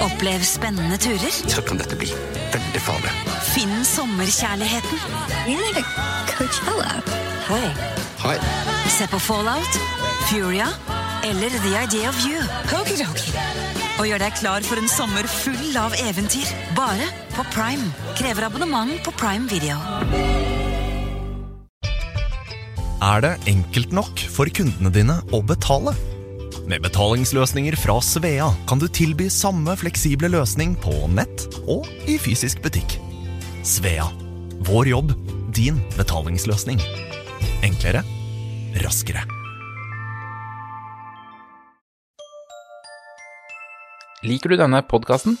Opplev spennende turer. Så kan dette bli veldig farlig. Finn sommerkjærligheten. Hei. Hei. Se på Fallout, Furia eller The Idea of You. Og gjør deg klar for en sommer full av eventyr. Bare på Prime. Krever abonnement på Prime Video. er det enkelt nok for kundene dine å betale. Med betalingsløsninger fra Svea kan du tilby samme fleksible løsning på nett og i fysisk butikk. Svea vår jobb, din betalingsløsning. Enklere, raskere. Liker du denne podkasten?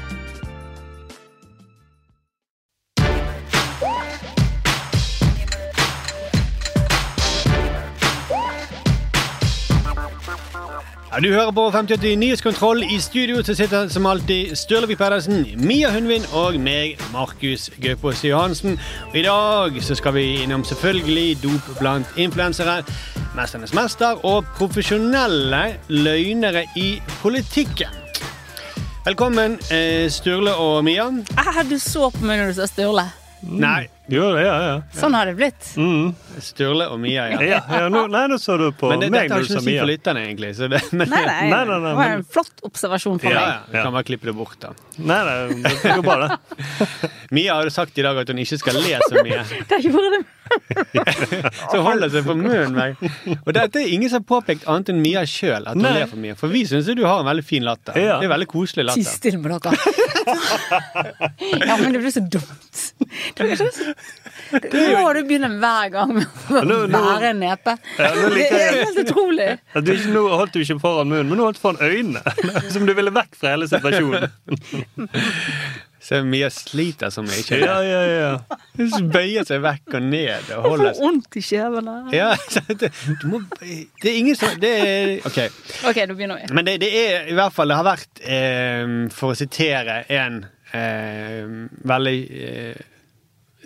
Ja, du hører på 589 Nyhetskontroll. I studio så sitter som alltid Sturlevik Pedersen, Mia Hundvin og meg, Markus Gaupås Johansen. Og I dag så skal vi innom selvfølgelig dop blant influensere, Mesternes mester og profesjonelle løgnere i politikken. Velkommen, eh, Sturle og Mia. Mm. Ah, du så på meg når du sa Sturle. Nei, Jo, ja, ja. Mm. Sånn har det blitt. Sturle og Mia, ja. ja, ja nå, nei, nå så du på Men det, meg dette har når du ikke noe sa å si Mia. for lytterne, egentlig. Så det, men, Nei, nei, Nei, nei, nei, det var men- en flott observasjon for ja, ja, meg. du kan bare klippe det bort, da. Nei, nei, det går bra, det. Mia har jo sagt i dag at hun ikke skal le så mye. Det gjorde det. Så holder seg for munnen meg. Og dette er ingen som har påpekt annet enn Mia sjøl. At hun Nei. ler for mye. For vi syns jo du har en veldig fin latter. Ja. Det er veldig koselig Ti latter. stille med dere. Ja, men det blir så dumt. Det blir så... Nå må du begynne hver gang med å Nå- nå- være en nepe. nå liker Det er jeg- helt utrolig. At du ikke, nå holdt du ikke foran munnen, men nå holdt du foran øynene. Som du ville vekk fra hele situasjonen. Så Mia sliter som jeg ikke Ja, gjør. ja, ja. Hun bøyer seg vekk og ned og Jeg holder får seg. vondt i kjevene. Ja, så det, du må, det er ingen som det er, OK. OK, da begynner vi. Men det, det er i hvert fall Det har vært, eh, for å sitere en eh, veldig eh,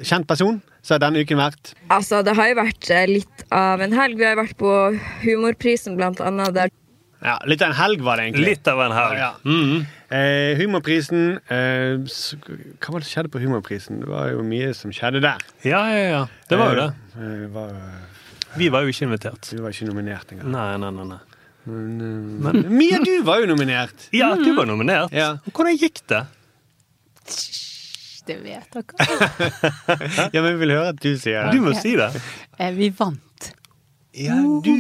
kjent person, så har denne uken vært Altså, det har jo vært eh, litt av en helg. Vi har jo vært på Humorprisen, blant annet. Der. ja, Litt av en helg, var det egentlig. Litt av en helg. Ja. Mhm. Eh, humorprisen eh, s- Hva var det som skjedde på Humorprisen? Det var jo mye som skjedde der. ja, ja, ja. Det var jo det. Eh, eh, var, Vi var jo ikke invitert. du var ikke nominert engang. Nei, nei, nei. nei. Men eh, Mia, du var jo nominert! Mm. Ja, du var nominert. Ja. Hvordan gikk det? Det vet dere. Ja, men Vi vil høre at du sier Du det. må si det. Eh, Vi vant. Ja, du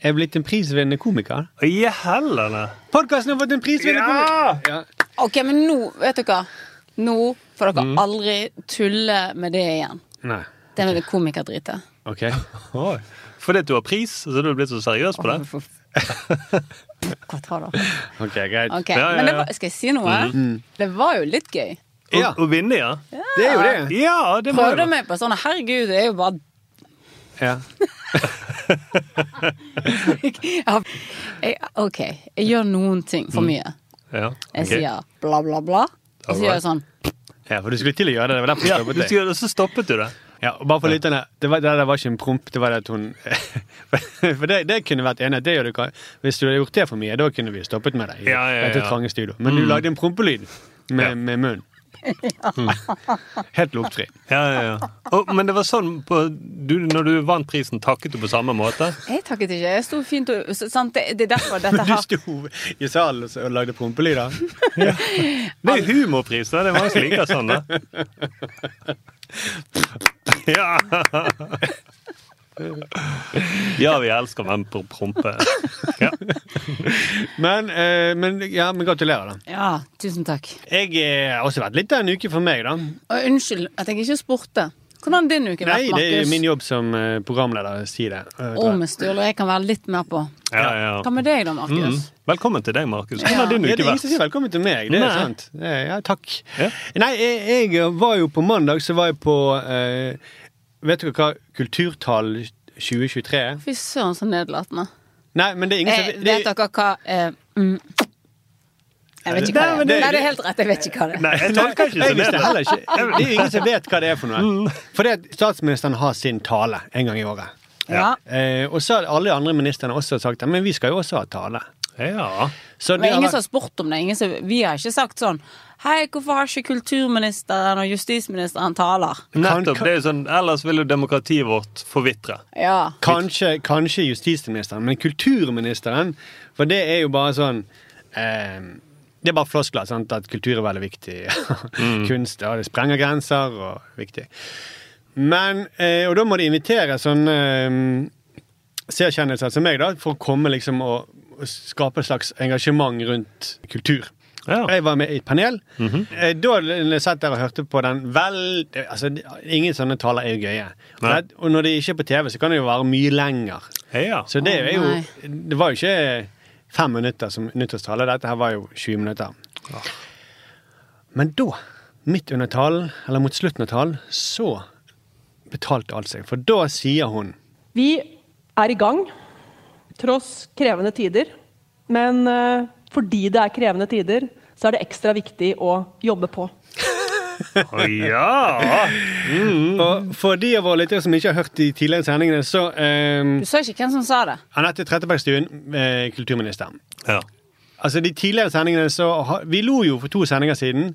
er blitt en prisvinnende komiker. I hellene. Podkasten har fått en prisvinnende komiker! Ja. OK, men nå, vet dere Nå får Mm. dere aldri tulle med det igjen. Nei. Det med det komikerdritet. OK. Oi. Fordi at du har pris, så er du blitt så seriøs på det? Hva tar dere? ok, Greit. Ok, Ja, ja, Men det ja. Mm. var, skal jeg si noe? Det var jo litt gøy. Ja, Å vinne, ja? det er jo det. Ja, det var Prøvde jo meg på sånn Herregud, det er jo bare Ja. ja, jeg, OK, jeg gjør noen ting Mm. for mye. ja. ok. Jeg sier bla, bla, bla. Og så gjør jeg sånn ja, for du skulle til å gjøre det. Det var derfor Ja, jeg du stoppet deg. skulle gjøre det, så stoppet du det. Ja, og bare for lytterne, det, var, det der var ikke en promp, det var det at hun For det, det kunne vært enighet. Det gjør du, ikke. hvis du hadde gjort det for mye, da kunne vi stoppet med deg. i Ja, ja, ja. dette trange studio. Men du lagde en prompelyd med, Ja. med munnen. Mm. Helt luktfri. Ja, ja, ja. Og, men det var sånn på, du, Når du vant prisen, takket du på samme måte? Jeg takket ikke. Jeg sto fint og så- sant? Det, det er derfor dette Men du her sto i salen og så- og lagde prompelyder. Det er humorpris, da. Det er mange som liker sånn, da. Ja. ja, vi elsker menn på prompe. Ja. Men, eh, men, ja, men gratulerer, da. Ja, tusen takk. Jeg eh, har også vært litt av en uke for meg, da. Og unnskyld at jeg ikke spurte. Hvordan har din uke vært, Nei, det er Markus? min jobb som eh, programleder. å Si det. Eh, Om Sturle jeg kan være litt mer på. Ja, Hva ja. med deg da, Markus? Mm. Velkommen til deg, Markus. Hvordan Ja. har din Ja, det uke er ingen som vært? sier velkommen til meg. Det er Nei. sant. Eh, Ja, takk. Ja. Nei, jeg, jeg var jo på mandag, så var jeg på eh, Vet dere hva Kulturtall 2023 er? Fy søren, så nedlatende. Nei, men det er ingen Eh, som vet dere hva eh, mm. Jeg vet ikke hva det Nei, men er. det- Nei, det er helt rett. Jeg vet ikke hva det er. Nei, jeg tolker ikke Jeg så visste ned. heller ikke. Det er ingen som vet hva det er for Mm. noe. Fordi at statsministeren har sin tale en gang i året. Ja. Eh, og så har alle de andre ministrene også sagt at men vi skal jo også ha tale. Ja. Så Men har ingen vært- som har spurt om det. Ingen som, vi har ikke sagt sånn Hei, hvorfor har ikke kulturministeren og justisministeren taler? Nettopp. Det er jo sånn, ellers vil jo demokratiet vårt forvitre. Ja. Kanskje, kanskje justisministeren, men kulturministeren. For det er jo bare sånn eh, Det er bare floskler. Sant? At kultur er veldig viktig. Mm. Kunst ja, det sprenger grenser og viktig. Men, eh, Og da må de invitere sånne eh, seerkjennelser som meg, da, for å komme liksom og og skape et slags engasjement rundt kultur. Ja. Mhm. Jeg var med i et panel. Eh, Da satt jeg og hørte på den vel altså, Ingen sånne taler er jo gøye. Nei. Og det- Og når de ikke er på TV, så kan det jo være mye lenger. Ja. Så det Å, er jo Det var jo ikke fem minutter som nyttårstale. Dette her var jo 20 minutter. Men da, midt under talen, eller mot slutten av talen, så betalte alt seg. For da sier hun Vi er i gang, tross krevende tider. Men eh, fordi det er krevende tider, så er det ekstra viktig å jobbe på. Å, ja. Mm. Og for de av våre lyttere som ikke har hørt de tidligere sendingene, så eh, Du sa ikke hvem som sa det. Anette Trettebergstuen, eh, kulturminister. ja. Altså, de tidligere sendingene så har- Vi lo jo for to sendinger siden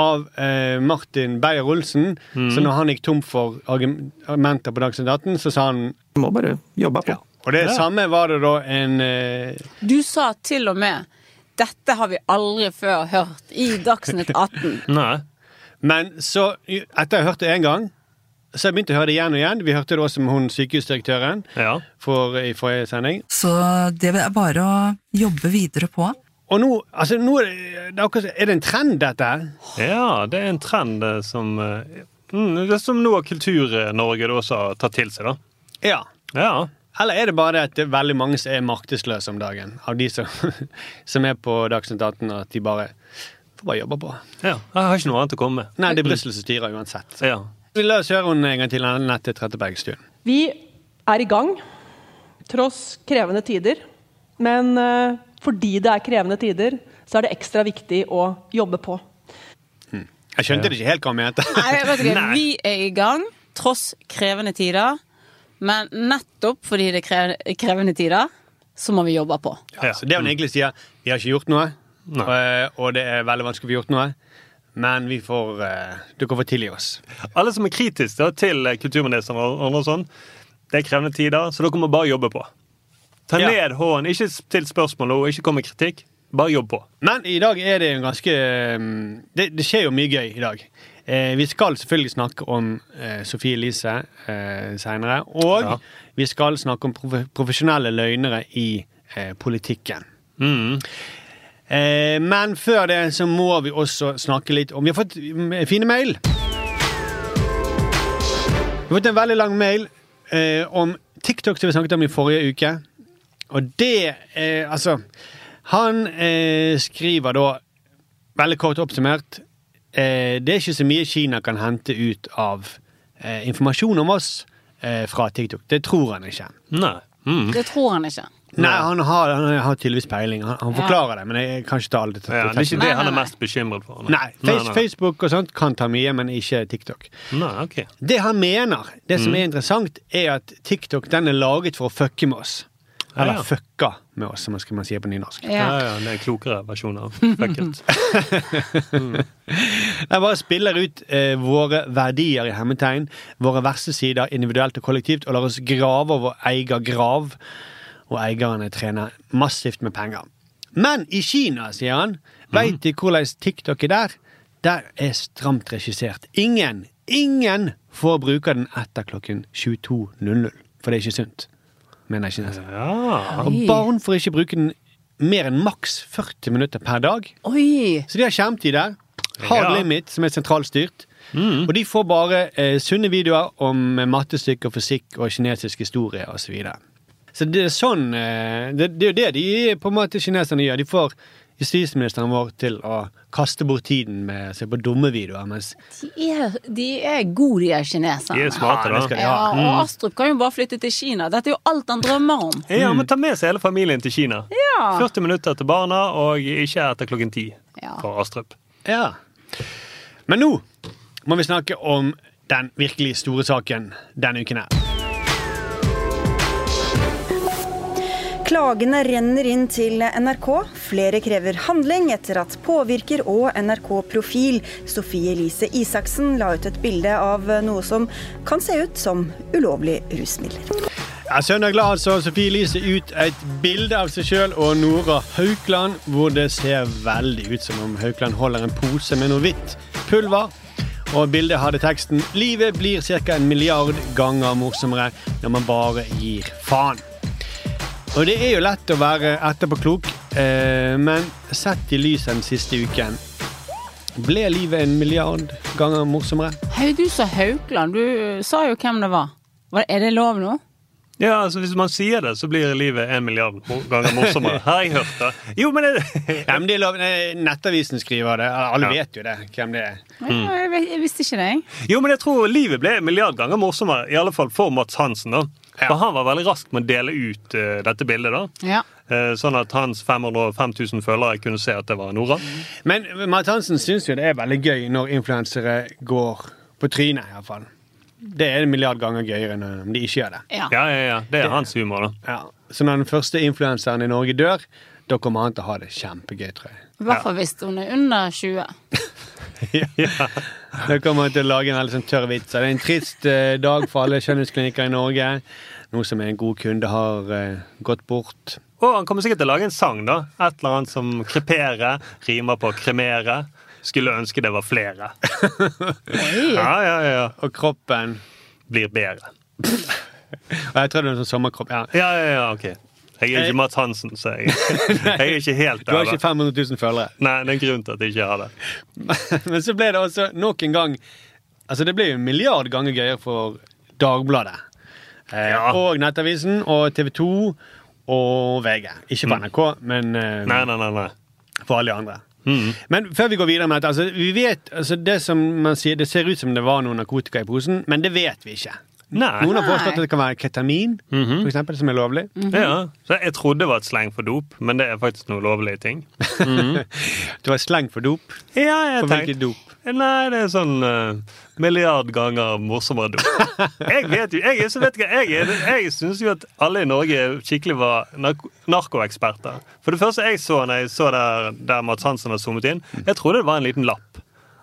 av eh, Martin Beyer-Olsen. Mm. Så når han gikk tom for argumenter på Dagsnytt 18, så sa han Må bare jobbe på. Og det samme var det da en eh, Du sa til og med dette har vi aldri før hørt i Dagsnytt 18. Nei. Men så, etter jeg hørte det én gang, så jeg begynte jeg å høre det igjen og igjen. Vi hørte det også med hun sykehusdirektøren Ja. for, i forrige sending. Så det er bare å jobbe videre på. Og nå, altså, nå er, det, det er, akkurat, er det en trend, dette her? Ja, det er en trend eh, som eh, mm, det er Som noe av Kultur-Norge da også har tatt til seg, da. Ja. Ja. Eller er det bare det at det er veldig mange som er maktesløse om dagen? Av de som, som er på Dagsnytt 18, og at de bare får bare jobbe på. ja. Jeg har ikke noe annet å komme med. Nei, det er Brussel som styrer uansett. Ja. Vi La oss høre henne en gang til, Anette Trettebergstuen. Vi er i gang, tross krevende tider. Men eh, fordi det er krevende tider, så er det ekstra viktig å jobbe på. Jeg skjønte det ikke helt hva hun mente. Nei, vet du hva, Vi er i gang, tross krevende tider. Men nettopp fordi det er kre- krevende tider, så må vi jobbe på. Ja. Så det hun egentlig sier, vi har ikke gjort noe, og, og det er veldig vanskelig å få gjort noe, men vi får eh, Dere får tilgi oss. Alle som er kritiske da, til eh, kulturministeren og andre og sånn, det er krevende tider, så dere må bare jobbe på. Ta Ja. ned hånden, ikke still spørsmål og ikke kom med kritikk. Bare jobb på. Men i dag er det en ganske mm, det, det skjer jo mye gøy i dag. Eh, vi skal selvfølgelig snakke om eh, Sofie Elise eh, seinere. Og Ja. vi skal snakke om profe profesjonelle løgnere i eh, politikken. Eh, men før det så må vi også snakke litt om Vi har fått mm, fine mail. Vi har fått en veldig lang mail eh, om TikTok som vi snakket om i forrige uke. Og det eh, Altså Han eh, skriver da, veldig kort oppsummert eh, Det er ikke så mye Kina kan hente ut av eh, informasjon om oss eh, fra TikTok. Det tror han ikke. Nei. Mm. Det tror han ikke. Nei, han har, han har tydeligvis peiling. Han, han Ja. forklarer det, men jeg kan ikke ta alt. Ja, det er ikke Nei, det nei, han er nei. mest bekymret for. Nei, face, nei. Facebook og sånt kan ta mye, men ikke TikTok. Nei, ok. Det han mener, det som er interessant, er at TikTok den er laget for å fucke med oss. Eller Ja, ja. fucka med oss, som man skal man si på nynorsk. Ja, Ja. ja, det er en klokere versjon av fuck it. Jeg bare spiller ut eh, våre verdier i hermetegn, våre verste sider individuelt og kollektivt, og lar oss grave over egen grav. Og eierne trener massivt med penger. Men i Kina, sier han, Mhm. veit de hvordan TikTok er der? Der er stramt regissert. Ingen, ingen får bruke den etter klokken 22.00. For det er ikke sunt, mener kineserne. Og barn får ikke bruke den mer enn maks 40 minutter per dag. Så de har skjermtider. Hard Ja. limit, som er sentralstyrt. Og de får bare eh, sunne videoer om mattestykker, fysikk og kinesisk historie osv. Så, videre. så det er sånn eh, det, det er jo det de på en måte kineserne gjør. De får justisministeren vår til å kaste bort tiden med å se på dumme videoer. Mens De er, de er gode, de er kineserne. De er smarte, da. Ja, det skal de ja, ha. og Mm. Astrup kan jo bare flytte til Kina. Dette er jo alt han drømmer om. Ja, men ta med seg hele familien til Kina. Ja. 40 minutter til barna, og ikke etter klokken ti Ja. for Astrup. Ja. Men nå må vi snakke om den virkelig store saken denne uken her. Klagene renner inn til NRK. Flere krever handling etter at påvirker og NRK-profil Sofie Elise Isaksen la ut et bilde av noe som kan se ut som ulovlige rusmidler. Ja, søndag la altså Sofie Elise ut et bilde av seg sjøl og Nora Haukland, hvor det ser veldig ut som om Haukland holder en pose med noe hvitt pulver. Og bildet hadde teksten 'Livet blir ca. en milliard ganger morsommere når man bare gir faen'. Og det er jo lett å være etterpåklok, eh, men sett i lys den siste uken Ble livet en milliard ganger morsommere? Hei, du sa Haukland. Du sa jo hvem det var. Var- Er det lov nå? Ja, altså Hvis man sier det, så blir livet en milliard mo- ganger morsommere. Har jeg hørt det? Jo, men ja, men det er lov. eh, Nettavisen skriver det. Alle Ja. vet jo det, hvem det er. Mm. Ja, Jeg, vet- jeg visste ikke det, jeg. Jo, men jeg tror livet ble en milliard ganger morsommere, i alle fall for Mats Hansen. da. For han var veldig rask med å dele ut eh, dette bildet, da. Ja. Eh, sånn at hans 505 000 følgere kunne se at det var Nora. Men Matt Hansen syns jo det er veldig gøy når influensere går på trynet, iallfall. Det er en milliard ganger gøyere enn eh, om de ikke gjør det. Ja, ja, ja. Det er hans humor, da. Ja. Så når den første influenseren i Norge dør, da kommer han til å ha det kjempegøy, tror jeg. I hvert fall hvis hun er under 20. Da kommer han til å lage en veldig sånn tørr vits. Det er en trist eh, dag for alle skjønnhetsklinikker i Norge. Nå som en god kunde har eh, gått bort. Og han kommer sikkert til å lage en sang, da. Et eller annet som krepere rimer på kremere. Skulle ønske det var flere. Ja, ja, ja. Og kroppen Blir bedre. Og jeg tror det er en sånn sommerkropp. Ja. Ja, ja, ja, ok. Jeg er ikke Mats Hansen, så jeg, jeg er ikke helt Du der. har ikke da. 500 000 følgere. Nei, det er en grunn til at jeg ikke har det. Men så ble det også nok en gang Altså det ble jo en milliard ganger gøyere for Dagbladet. Eh, Og Nettavisen og TV 2 og VG. Ikke for NRK, men eh, Mm. Nei, nei, nei. Mm. nei. for alle de andre. Men før vi går videre med dette, altså, vi vet, altså det som man sier, det ser ut som det var noe narkotika i posen, men det vet vi ikke. Nei. Mhm. Noen har påstått at det kan være ketamin, for eksempel, som er lovlig. Mhm. Ja, så Jeg trodde det var et sleng for dop, men det er faktisk noe lovlige ting. Mhm. Du har sleng for dop. Ja, jeg For tenkte- hvilket dop? Nei, det er sånn eh, milliard ganger morsommere dop. Jeg vet jo, jeg, er- så vet du hva, jeg, er- jeg syns jo at alle i Norge skikkelig var narko narkoeksperter. For det første jeg så når jeg så der, der Mads Hansen var zoomet inn, jeg trodde det var en liten lapp.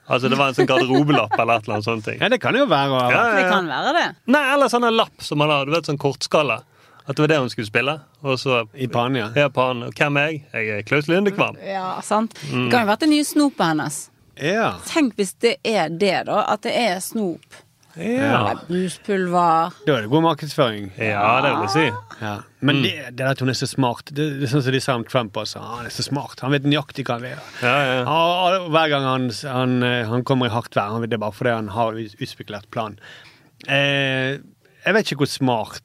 Altså det var en sånn garderobelapp eller et eller annet sånt. ting. Ja, det kan jo være. og- Ja, Det ja, ja. kan være det. Nei, eller sånn en lapp som man har, du vet, sånn kortskala. At det var det hun skulle spille. Og så I panen, ja. Ja, panen. Og hvem er jeg? Jeg er Klaus Lindekvam. Mm. Ja, sant? Det kan jo vært det nye snopet hennes. ja. Tenk hvis det er det, da. At det er snop. Ja. Bruspulver. Da er det god markedsføring. Ja, det vil jeg si. Mm. Ja. Men det, det er at hun er så smart. Det, det er sånn som de sa om Trump også. Han er så smart. Han vet nøyaktig hva han vil. Ja, ja. Og- og Hver gang han, han, eh, han kommer i hardt vær, han vet det er bare fordi han har ut- utspekulert plan. Eh, jeg vet ikke hvor smart eh,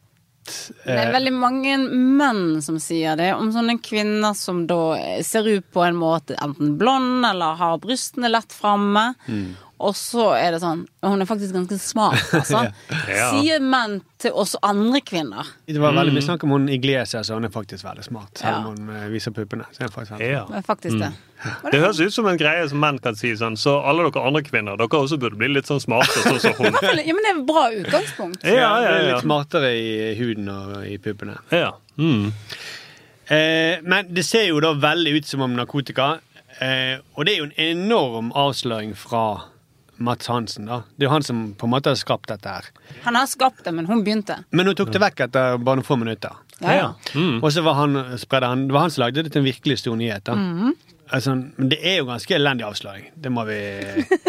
Det Eh. er veldig mange menn som sier det om sånne kvinner som da eh, ser ut på en måte enten blond eller har brystene lett framme. Og så er det sånn og Hun er faktisk ganske smart, altså. Ja. Mm. Sier menn til oss andre kvinner. Det var veldig mye snakk om hun Iglesias, og hun er faktisk veldig smart. Ja. Selv om hun eh, viser puppene. Så er hun faktisk veldig Ja. Det er faktisk Mm. det. Det høres ut som en greie som menn kan si sånn, så alle dere andre kvinner, dere også burde bli litt sånn smarte, sånn som hun. Ja, men det er et bra utgangspunkt. Ja, smart. ja, Hun er ja. Litt smartere i huden og i puppene. ja. Mm. Eh, men det ser jo da veldig ut som om narkotika. Eh, og det er jo en enorm avsløring fra Mats Hansen, da. Det er jo han som på en måte har skapt dette her. Han har skapt det, men hun begynte. Men hun tok det vekk etter bare noen få minutter. Ja, ja. Mm. Og så var han, spredde han Det var han som lagde det til en virkelig stor nyhet, da. Mhm. Altså, men det er jo ganske elendig avsløring. Det må vi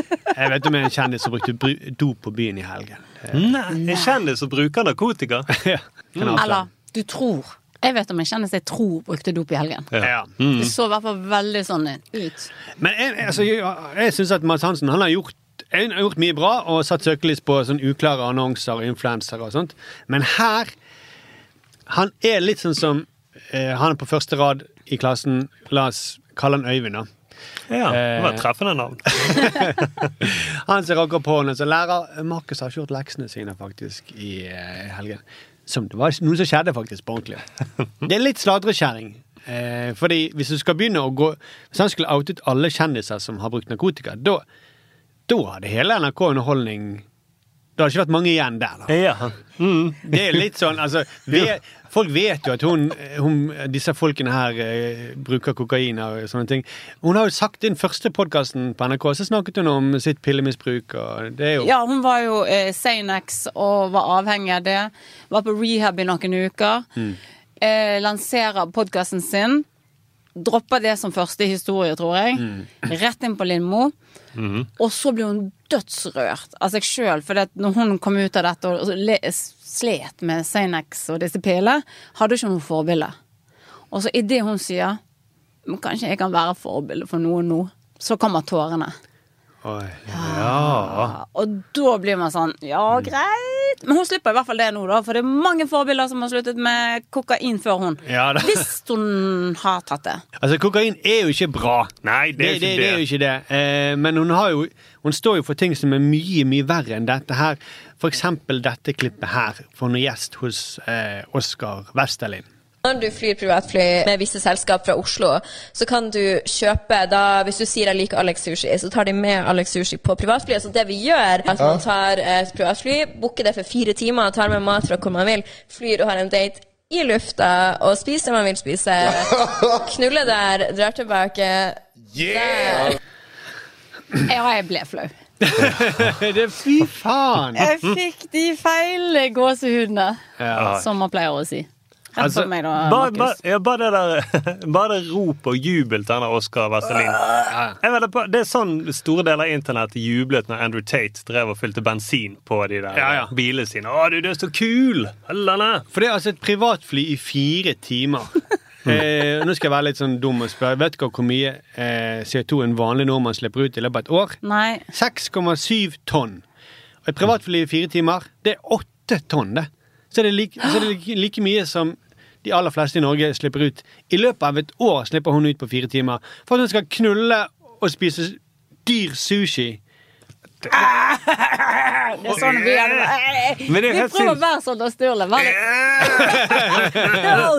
Jeg vet om en kjendis som brukte bru- dop på byen i helgen. Nei, En kjendis som bruker narkotika? ja. kan avsløre. Eller du tror. Jeg vet om en kjendis jeg tror brukte dop i helgen. Ja. Mm. Det så i hvert fall veldig sånn ut. Men jeg, jeg- altså, jeg, jeg syns at Mads Hansen han har gjort han har gjort mye bra og satt søkelys på sånn uklare annonser og influensere og sånt. Men her Han er litt sånn som eh, han er på første rad i klassen. La oss kalle han Øyvind, da. Eh, Ja, det var et treffende navn. Han som rakker på hånden som lærer. Markus har ikke gjort leksene sine faktisk i eh, helgen. Som det var noe som skjedde faktisk på ordentlig. Det er litt sladrekjerring. Eh, fordi hvis du skal begynne å gå Hvis han skulle outet alle kjendiser som har brukt narkotika, da da hadde hele NRK Underholdning Det hadde ikke vært mange igjen der, da. Det er litt sånn, altså ve- Folk vet jo at hun, hun disse folkene her eh, bruker kokain og sånne ting. Hun har jo sagt i den første podkasten på NRK, så snakket hun om sitt pillemisbruk, og det er jo Ja, hun var jo eh, Sanex og var avhengig av det. Var på rehab i noen uker. Mm. Eh, lanserer podkasten sin. Dropper det som første historie, tror jeg. Mm. Rett inn på Lindmo. Og så ble hun dødsrørt av seg sjøl. For det at når hun kom ut av dette og le- slet med Sanex og disse pillene, hadde ikke hun noe forbilde. Og så i det hun sier «Men Kanskje jeg kan være forbilde for noen nå. Så kommer tårene. Oi, Ah. ja. Og da blir man sånn Ja, Mm. greit. Men hun slipper i hvert fall det nå, da. For det er mange forbilder som har sluttet med kokain før hun. Ja, da. Hvis hun har tatt det. Altså, kokain er jo ikke bra. Nei, det er jo ikke det. er jo ikke det. Eh, men hun, har jo, hun står jo for ting som er mye, mye verre enn dette her. For eksempel dette klippet her, for noen gjest hos eh, Oskar Westerlin. Når du flyr privatfly med visse selskap fra Oslo, så kan du kjøpe da, Hvis du sier 'jeg liker Alex Sushi', så tar de med Alex Sushi på privatflyet. Så det vi gjør, er at Ja. man tar et privatfly, booker det for fire timer, tar med mat fra hvor man vil, flyr og har en date i lufta og spiser det man vil spise, knuller der, drar tilbake. Yeah! Ja, jeg ble flau. det Fy faen! Jeg fikk de feile gåsehudene, Ja. som man pleier å si. Rett Altså, Sånn. på meg da, bare, Markus. bare, ja, bare, det der, bare det rop og jubel til denne Oscar Westerlin. Jeg vet, det bare- det er sånn store deler av internett jublet når Andrew Tate drev og fylte bensin på de der bilene sine. Å, du, du er så kul! Hellene! For det er altså et privatfly i fire timer. Mm. eh, nå skal jeg være litt sånn dum og spørre. Vet dere hvor mye eh, CO2 en vanlig nordmann slipper ut i løpet av et år? Nei. 6,7 tonn. Og et privatfly i fire timer, det er åtte tonn, det. Så det er like, så det er like, like mye som de aller fleste i Norge slipper ut. I løpet av et år slipper hun ut på fire timer for at hun skal knulle og spise dyr sushi. Det er sånn vi er. Men det er Vi prøver å helt sinnssykt. være sånn da, Sturle. Vær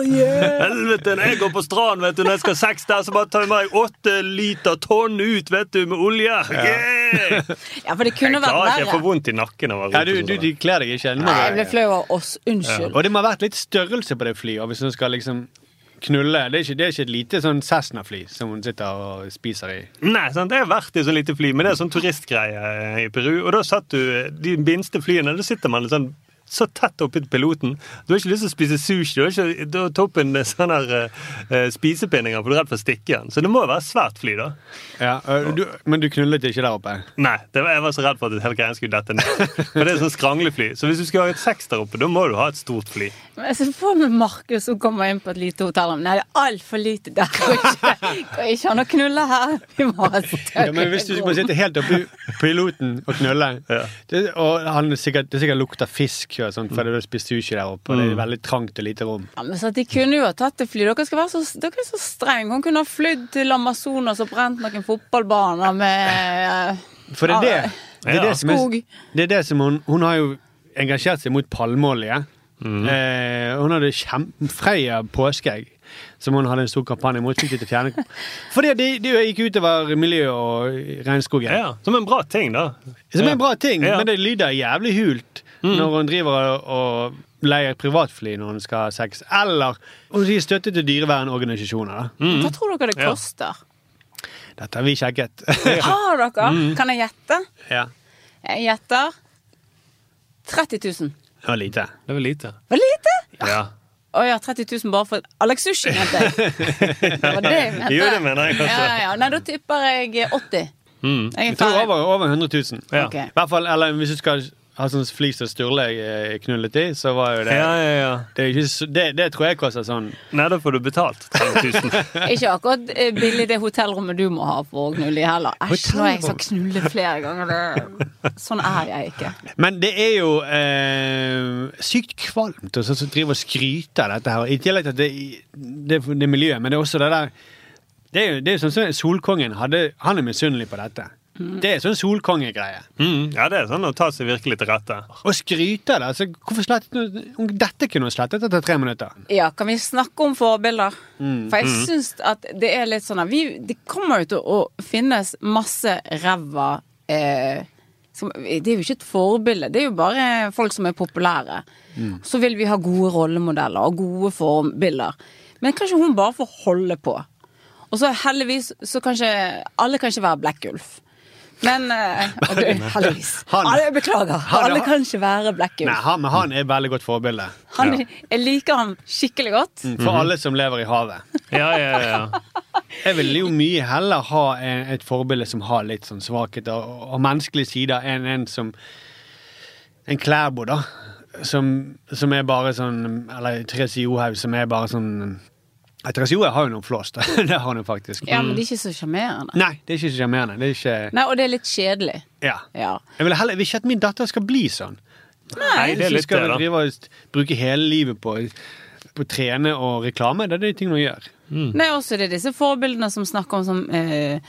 litt- Helvete, når jeg går på stranden vet du, når jeg skal ha sex der, så bare tar jeg med meg åtte liter tonn ut vet du, med olje. Yeah! Ja, for det kunne jeg vært klarer ikke, jeg verre. får vondt i nakken av å Ja, rope du, sånn. du, du kler deg ikke. Nå må Nei, jeg du- ble flau av oss. Ja. Unnskyld. Og det må ha vært litt størrelse på det flyet hvis hun skal liksom knulle. Det er ikke, det er ikke et lite sånn Cessna-fly som hun sitter og spiser i. Nei, sant? Jeg har vært i sånn lite fly, men det er sånn turistgreie eh, i Peru. Og da satt du eh, de minste flyene, da sitter man sånn så tett oppi til piloten. Du har ikke lyst til å spise sushi. Du har ikke du har toppen sånn her eh, spisepinninger, for du er redd for å stikke igjen. Så det må jo være svært fly, da. Ja, øh, du, men du knullet ikke der oppe? Nei, det var, jeg var så redd for at hele greia skulle dette ned. For det er sånn skranglefly. Så hvis du skal ha et seks der oppe, da må du ha et stort fly. Men Jeg ser for meg Markus som kommer inn på et lite hotellrom. Nei, det er altfor lite der. Kan ikke, kan ikke han å knulle her. Vi må ha Ja, men hvis du må sitte helt oppi piloten og knulle det, Og han er sikkert, det er sikkert lukter fisk og sånt, for du har spist sushi der oppe, og det er veldig trangt og lite rom. Ja, men så at De kunne jo ha tatt det fly. Dere, skal være så, dere er så strenge. Hun kunne ha flydd til Amazonas og brent noen fotballbaner med For det er det, det, er Ja. det som er, Skog. det er det som hun Hun har jo engasjert seg mot palmeolje. Mhm. Eh, hun hadde kjem- Freia påskeegg, som hun hadde en stor kampanje mot. Fikk de til å fjerne Fordi det, det gikk utover miljøet og regnskogen. Ja, Som en bra ting, da. Som en bra ting, Ja. Mhm. men det lyder jævlig hult når hun driver og- og leier privatfly når hun skal ha sex. Mhm. Eller hun sier støtte til dyrevernorganisasjoner. da. Hva tror dere det Mm. Ja. koster? Dette har vi sjekket. Har dere? Mm. Kan jeg gjette? Ja. Jeg gjetter 30 000. Det var lite. Det var lite. Var det lite? Ja. Å ja, 30 000 bare for Alex Sushi, mente jeg. Det var det jeg mente. Jo, det mener jeg kanskje. Ja, ja, ja. Nei, da tipper jeg 80. Mm. Jeg er Jeg tror ferdig. over, over 100 000. Ja. Ok. I hvert fall, eller hvis du skal ha sånn flis og sturle eh, knullet i, så var jo det Ja, Det, er ikke, så- det, det tror jeg koster sånn Nei, da får du betalt 30 Ikke akkurat eh, billig det hotellrommet du må ha for å knulle i heller. Æsj, nå har jeg sagt knulle flere ganger. Det. Sånn er jeg ikke. Men det er jo eh, sykt kvalmt å så- så drive og skryte av dette her. I tillegg til at det, det, det er miljøet, men det er også det der Det er jo, det er jo sånn som Solkongen hadde, han er misunnelig på dette. Mm. Det er sånn solkongegreie. Mm, ja, det er sånn å ta seg virkelig til rette. Å skryte av det altså, Hvorfor slettet du- om Dette kunne hun slettet etter tre minutter. Ja, kan vi snakke om forbilder? Mm. For jeg Mm. syns at det er litt sånn at vi, Det kommer jo til å finnes masse ræva eh, som, Det er jo ikke et forbilde, det er jo bare folk som er populære. Mm. Så vil vi ha gode rollemodeller og gode forbilder. Men kanskje hun bare får holde på. Og så heldigvis så kanskje Alle kan ikke være Black Ulf. Men eh, og det, Heldigvis. Han- alle, beklager. han- alle kan ikke være Black Nei, Ulf. han, men han er et veldig godt forbilde. Han, Ja. Jeg liker han skikkelig godt. Mhm. Mm, For alle som lever i havet. Mhm. Ja, ja, ja. Jeg ville jo mye heller ha en, et forbilde som har litt sånn svakheter og, og menneskelige sider, enn en som En Klæbo, da. Som, som er bare sånn Eller Therese Johaug, som er bare sånn ja, Therese Johaug har jo noen flås, da. Det har hun jo faktisk. Mm. Ja, men de er ikke så sjarmerende. Nei, det er ikke så sjarmerende. Det er ikke Nei, og det er litt kjedelig. Ja. Ja. Jeg vil heller jeg vil ikke at min datter skal bli sånn. Nei, Hvis du skal drive og st- bruke hele livet på på å trene og reklame. Det er de ting man gjør. Mm. Nei, også det er disse forbildene som snakker om som eh,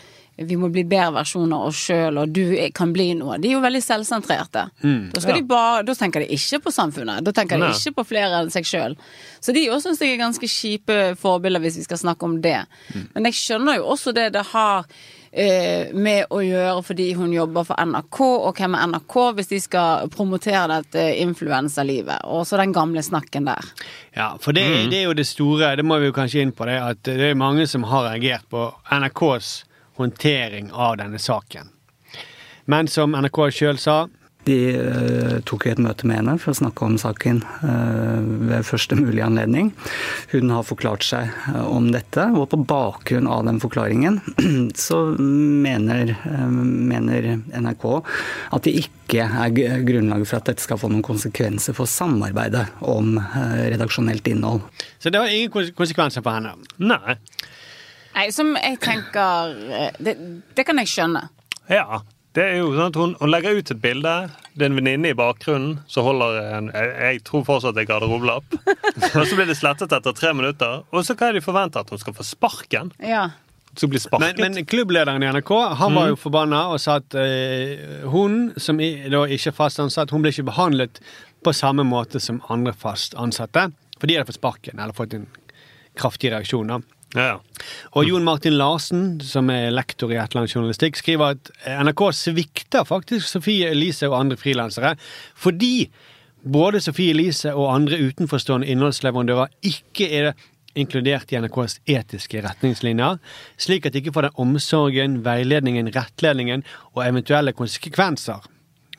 vi må bli bedre versjoner av oss sjøl, og du er- kan bli noe. De er jo veldig selvsentrerte. Mm, Da, ja. skal de bare, da tenker de ikke på samfunnet. Da tenker Nei. de ikke på flere enn seg sjøl. Så de òg syns jeg er ganske kjipe forbilder, hvis vi skal snakke om det. Mm. Men jeg skjønner jo også det det har eh, med å gjøre fordi hun jobber for NRK, og hvem er NRK hvis de skal promotere dette influensalivet? Og så den gamle snakken der. Ja, For det, det er jo det store, det må vi jo kanskje inn på det, at det er mange som har reagert på NRKs håndtering av denne saken. Men som NRK sjøl sa De eh, tok jo et møte med henne for å snakke om saken eh, ved første mulige anledning. Hun har forklart seg eh, om dette, og på bakgrunn av den forklaringen så mener, eh, mener NRK at det ikke er gr- grunnlag for at dette skal få noen konsekvenser for samarbeidet om eh, redaksjonelt innhold. Så det har ingen konse- konsekvenser for henne. Nei. Nei, som jeg tenker eh, Det, det kan jeg skjønne. Ja. Det er jo sånn at hun, hun legger ut et bilde. Det er en venninne i bakgrunnen som holder en Jeg, jeg tror fortsatt det er garderobelapp. og så blir det slettet etter tre minutter. Og så hva er det de forventer? At hun skal få sparken? Ja. Hun blir sparket? Men, men klubblederen i NRK han var jo Mm. forbanna og sa at eh, hun, som i, da ikke er fast ansatt, hun ble ikke behandlet på samme måte som andre fast ansatte. For de hadde fått sparken eller fått en kraftig reaksjon. da. Mm. Og Jon Martin Larsen, som er lektor i Etterlandsjournalistikk, skriver at NRK svikter faktisk Sofie Elise og andre frilansere fordi både Sofie Elise og andre utenforstående innholdsleverandører ikke er inkludert i NRKs etiske retningslinjer, slik at de ikke får den omsorgen, veiledningen, rettledningen og eventuelle konsekvenser,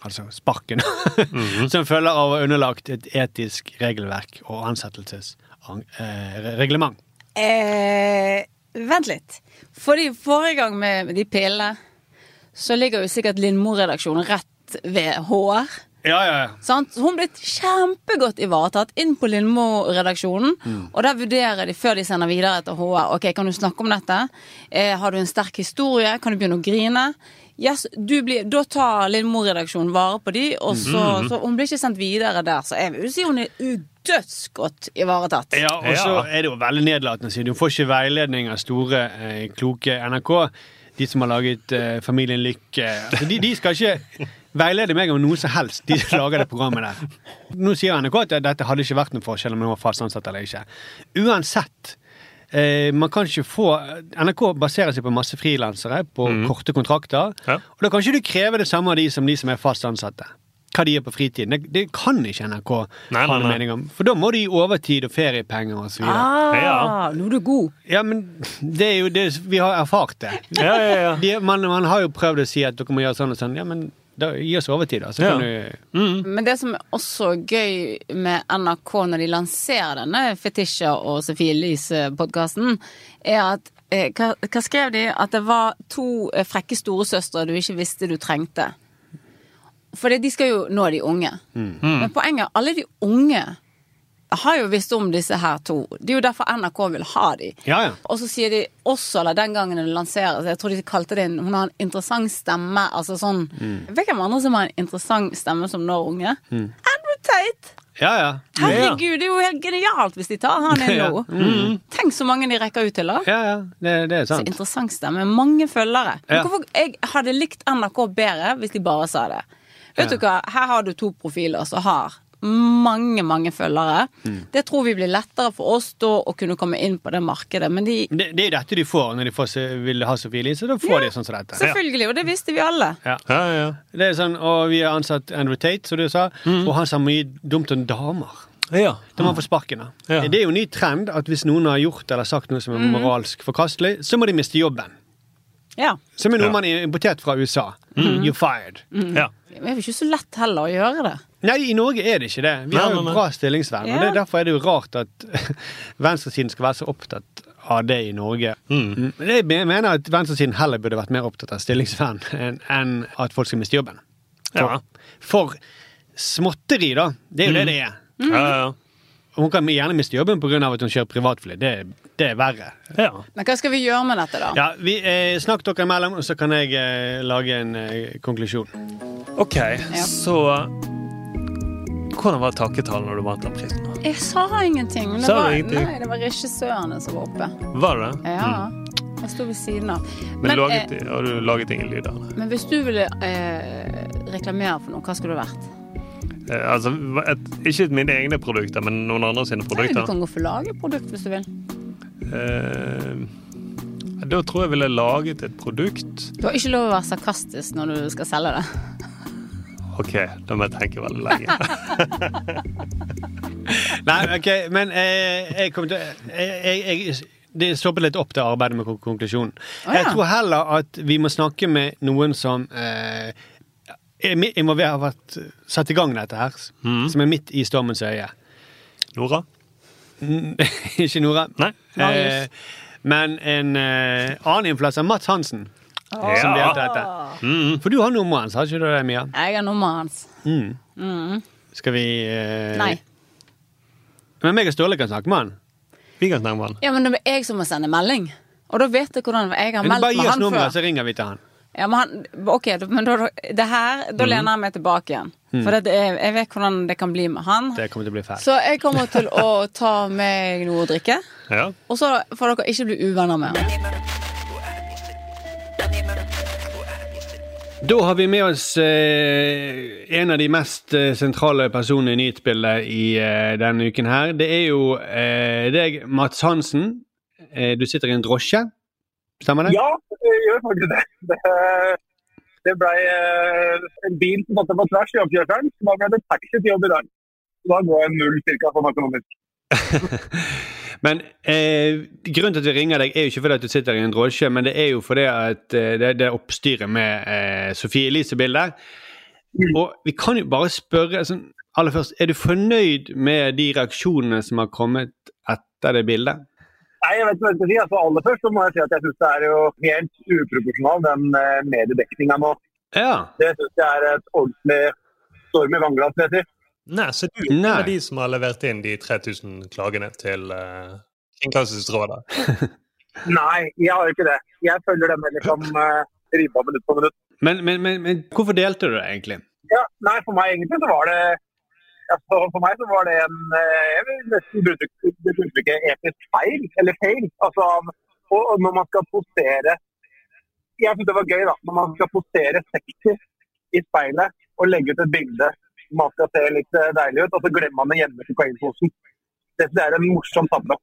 altså sparken, som følger av å være underlagt et etisk regelverk og ansettelsesreglement. Eh, vent litt. Fordi forrige gang med de pillene, så ligger jo sikkert Lindmo-redaksjonen rett ved HR. Ja, ja, ja. Sant? Så Hun ble kjempegodt ivaretatt inn på Lindmo-redaksjonen. Mm. Og der vurderer de før de sender videre til HR. Ok, Kan du snakke om dette? Eh, har du en sterk historie? Kan du begynne å grine? Yes, du blir, da tar Lindmo-redaksjonen vare på de, og så, Mhm. så hun blir ikke sendt videre der. Så jeg vil si hun er udødsgodt ivaretatt. Ja, og så er det jo veldig nedlatende å si. Du får ikke veiledning av store, eh, kloke NRK. De som har laget eh, Familien Lykke. Altså, de, de skal ikke veilede meg om noe som helst, de som lager det programmet der. Nå sier NRK at dette hadde ikke vært noen forskjell om noen var fast ansatt eller ikke. Uansett. Eh, man kan ikke få NRK baserer seg på masse frilansere på korte kontrakter. Og da kan ikke du kreve det samme av de som de som er fast ansatte. hva de gjør på fritiden. Det, det kan ikke NRK nei, ha noen nei. mening om. For da må de gi overtid og feriepenger og så videre. Ah, nå er du god. Ja, men det er jo det Vi har erfart det. Ja, ja, ja. De, man, man har jo prøvd å si at dere må gjøre sånn og sånn. Ja, men da, gi oss overtid, da. Så Ja. kan du Men det som er også gøy med NRK når de lanserer denne Fetisha og Sofie Elise-podkasten, er at eh, hva, hva skrev de? At det var to eh, frekke storesøstre du ikke visste du trengte. For det- de skal jo nå de unge. Mm. Mm. Men poenget er alle de unge har jo visst om disse her to. Det er jo derfor NRK vil ha de. Ja, ja. Og så sier de også, eller den gangen det lanseres, jeg tror de kalte det en Hun har en interessant stemme. Altså sånn Mm. Vet hvem andre som har en interessant stemme som når unge? Mm. Andrew Tate! Ja, ja. Herregud, det er jo helt genialt hvis de tar han inn Ja. nå. Mm. Tenk så mange de rekker ut til, da. Ja, ja. Det, det er Så sant. interessant stemme. Mange følgere. Men Ja. Hvorfor jeg hadde likt NRK bedre hvis de bare sa det. Vet du Ja. hva, her har du to profiler som har mange, mange følgere. Mm. Det tror vi blir lettere for oss da å kunne komme inn på det markedet, men de Det, det er jo dette de får når de får, se- vil ha Sofie Elise. Da får de sånn som dette. Selvfølgelig, og det visste vi alle. Ja. Det er sånn, og vi har ansatt Andrew Tate, som du sa, Mhm. og han sa mye dumt om damer. Da må han få sparken. da. Det er jo en ny trend at hvis noen har gjort eller sagt noe som er Mhm. moralsk forkastelig, så må de miste jobben. Ja. Som er noe Ja. man er importert fra USA. Mhm. You're fired. Mm. Men Det er jo ikke så lett heller å gjøre det. Nei, i Norge er det ikke det. Vi Nei, har jo nei, nei. bra stillingsvern. Ja. Og det er derfor er det jo rart at venstresiden skal være så opptatt av det i Norge. Mm. Men Jeg mener at venstresiden heller burde vært mer opptatt av stillingsvern enn enn at folk skal miste jobben. Ja. For, for småtteri, da. Det er jo Mm. det det er. Mm. Ja, ja, Og Hun kan gjerne miste jobben pga. at hun kjører privatfly. Det, det er verre. Ja. Men hva skal vi gjøre med dette, da? Ja, vi, eh, snakk dere imellom, og så kan jeg eh, lage en eh, konklusjon. OK, så Hvordan var takketalen når du vant den prisen? Jeg sa ingenting. men Det Sa du var, ingenting? Nei, det var regissørene som var oppe. Var det det? Ja. Mm. Jeg sto ved siden av. Men, laget, eh, har du laget ingen lyder? eller? men hvis du ville eh, reklamere for noe, hva skulle det vært? Eh, altså, et, ikke mine egne produkter, men noen andre sine Nei, du produkter. kan gå for lagerprodukt hvis du vil. Eh, da tror jeg ville laget et produkt Du har ikke lov å være sarkastisk når du skal selge det. OK, da må jeg tenke veldig lenge. Nei, ok, men eh, jeg kommer til jeg, jeg, jeg, Det stoppet litt opp, det arbeidet med kon- konklusjonen. Å, ja. Jeg tror heller at vi må snakke med noen som eh, er mi- involver- har vært satt i gang dette her, s- som er midt i stormens øye. Mm. Nora? Ikke Nora. Nei. Eh, Marius. men en eh, annen influenser, Mats Hansen, Ja. som delte dette. Mm. For du har nummeret hans, har ikke du det, Mia? Jeg har nummeret hans. Mm. Mm. Skal vi eh, Nei. Men meg og Ståle kan snakke med han. Vi kan snakke med han. Ja, men det er jeg som må sende melding. Og da vet jeg hvordan jeg har Men meldt bare gi med oss han nummeret, altså? før. så ringer vi til han. Ja, men han, ok, men da, det her, da Mm. lener jeg meg tilbake igjen. Mm. For det, er- jeg vet hvordan det kan bli med han. Det kommer til å bli fælt. Så jeg kommer til å ta meg noe å drikke. Ja. Og så får dere ikke bli uvenner med han. Da har vi med oss eh, en av de mest eh, sentrale personene i nyhetsbildet i eh, denne uken her. Det er jo eh, deg, Mats Hansen. Eh, du sitter i en drosje, stemmer det? Ja, det gjør faktisk det. Det, det ble eh, en bil som satte på tvers i oppkjørselen. så Da ble det taxi til jobb i dag. Så da går jeg null cirka sånn økonomisk. Men eh, grunnen til at vi ringer deg er jo ikke fordi at du sitter i en drosje, men det er jo fordi at eh, det, det er oppstyret med eh, Sofie Elise-bildet. Og vi kan jo bare spørre sånn, aller først, er du fornøyd med de reaksjonene som har kommet etter det bildet? Nei, jeg vet ikke hva jeg skal si. Altså, aller først så må jeg si at jeg syns det er jo helt uproporsjonal, den eh, mediedekninga nå. Det syns jeg er et ordentlig storm i vannglass, vil jeg si. Nei, så du Nei. er de som har levert inn de 3000 klagene til uh, Kringkastingsrådet? Nei, jeg har jo ikke det. Jeg følger den der liksom eh, ribba minutt for minutt. Men, men, men, men hvorfor delte du det egentlig? Ja, nei, for meg egentlig så var det altså, For meg så var det en eh, Jeg vil nesten bruke bruke uttrykket etisk feil, eller feil. Altså, og, og når man skal postere Jeg synes det var gøy, da. Når man skal postere sexy i speilet og legge ut et bilde man skal se litt eh, deilig ut, og så glemmer man det hjemme i kokainposen. Det synes jeg er en morsom tabbe.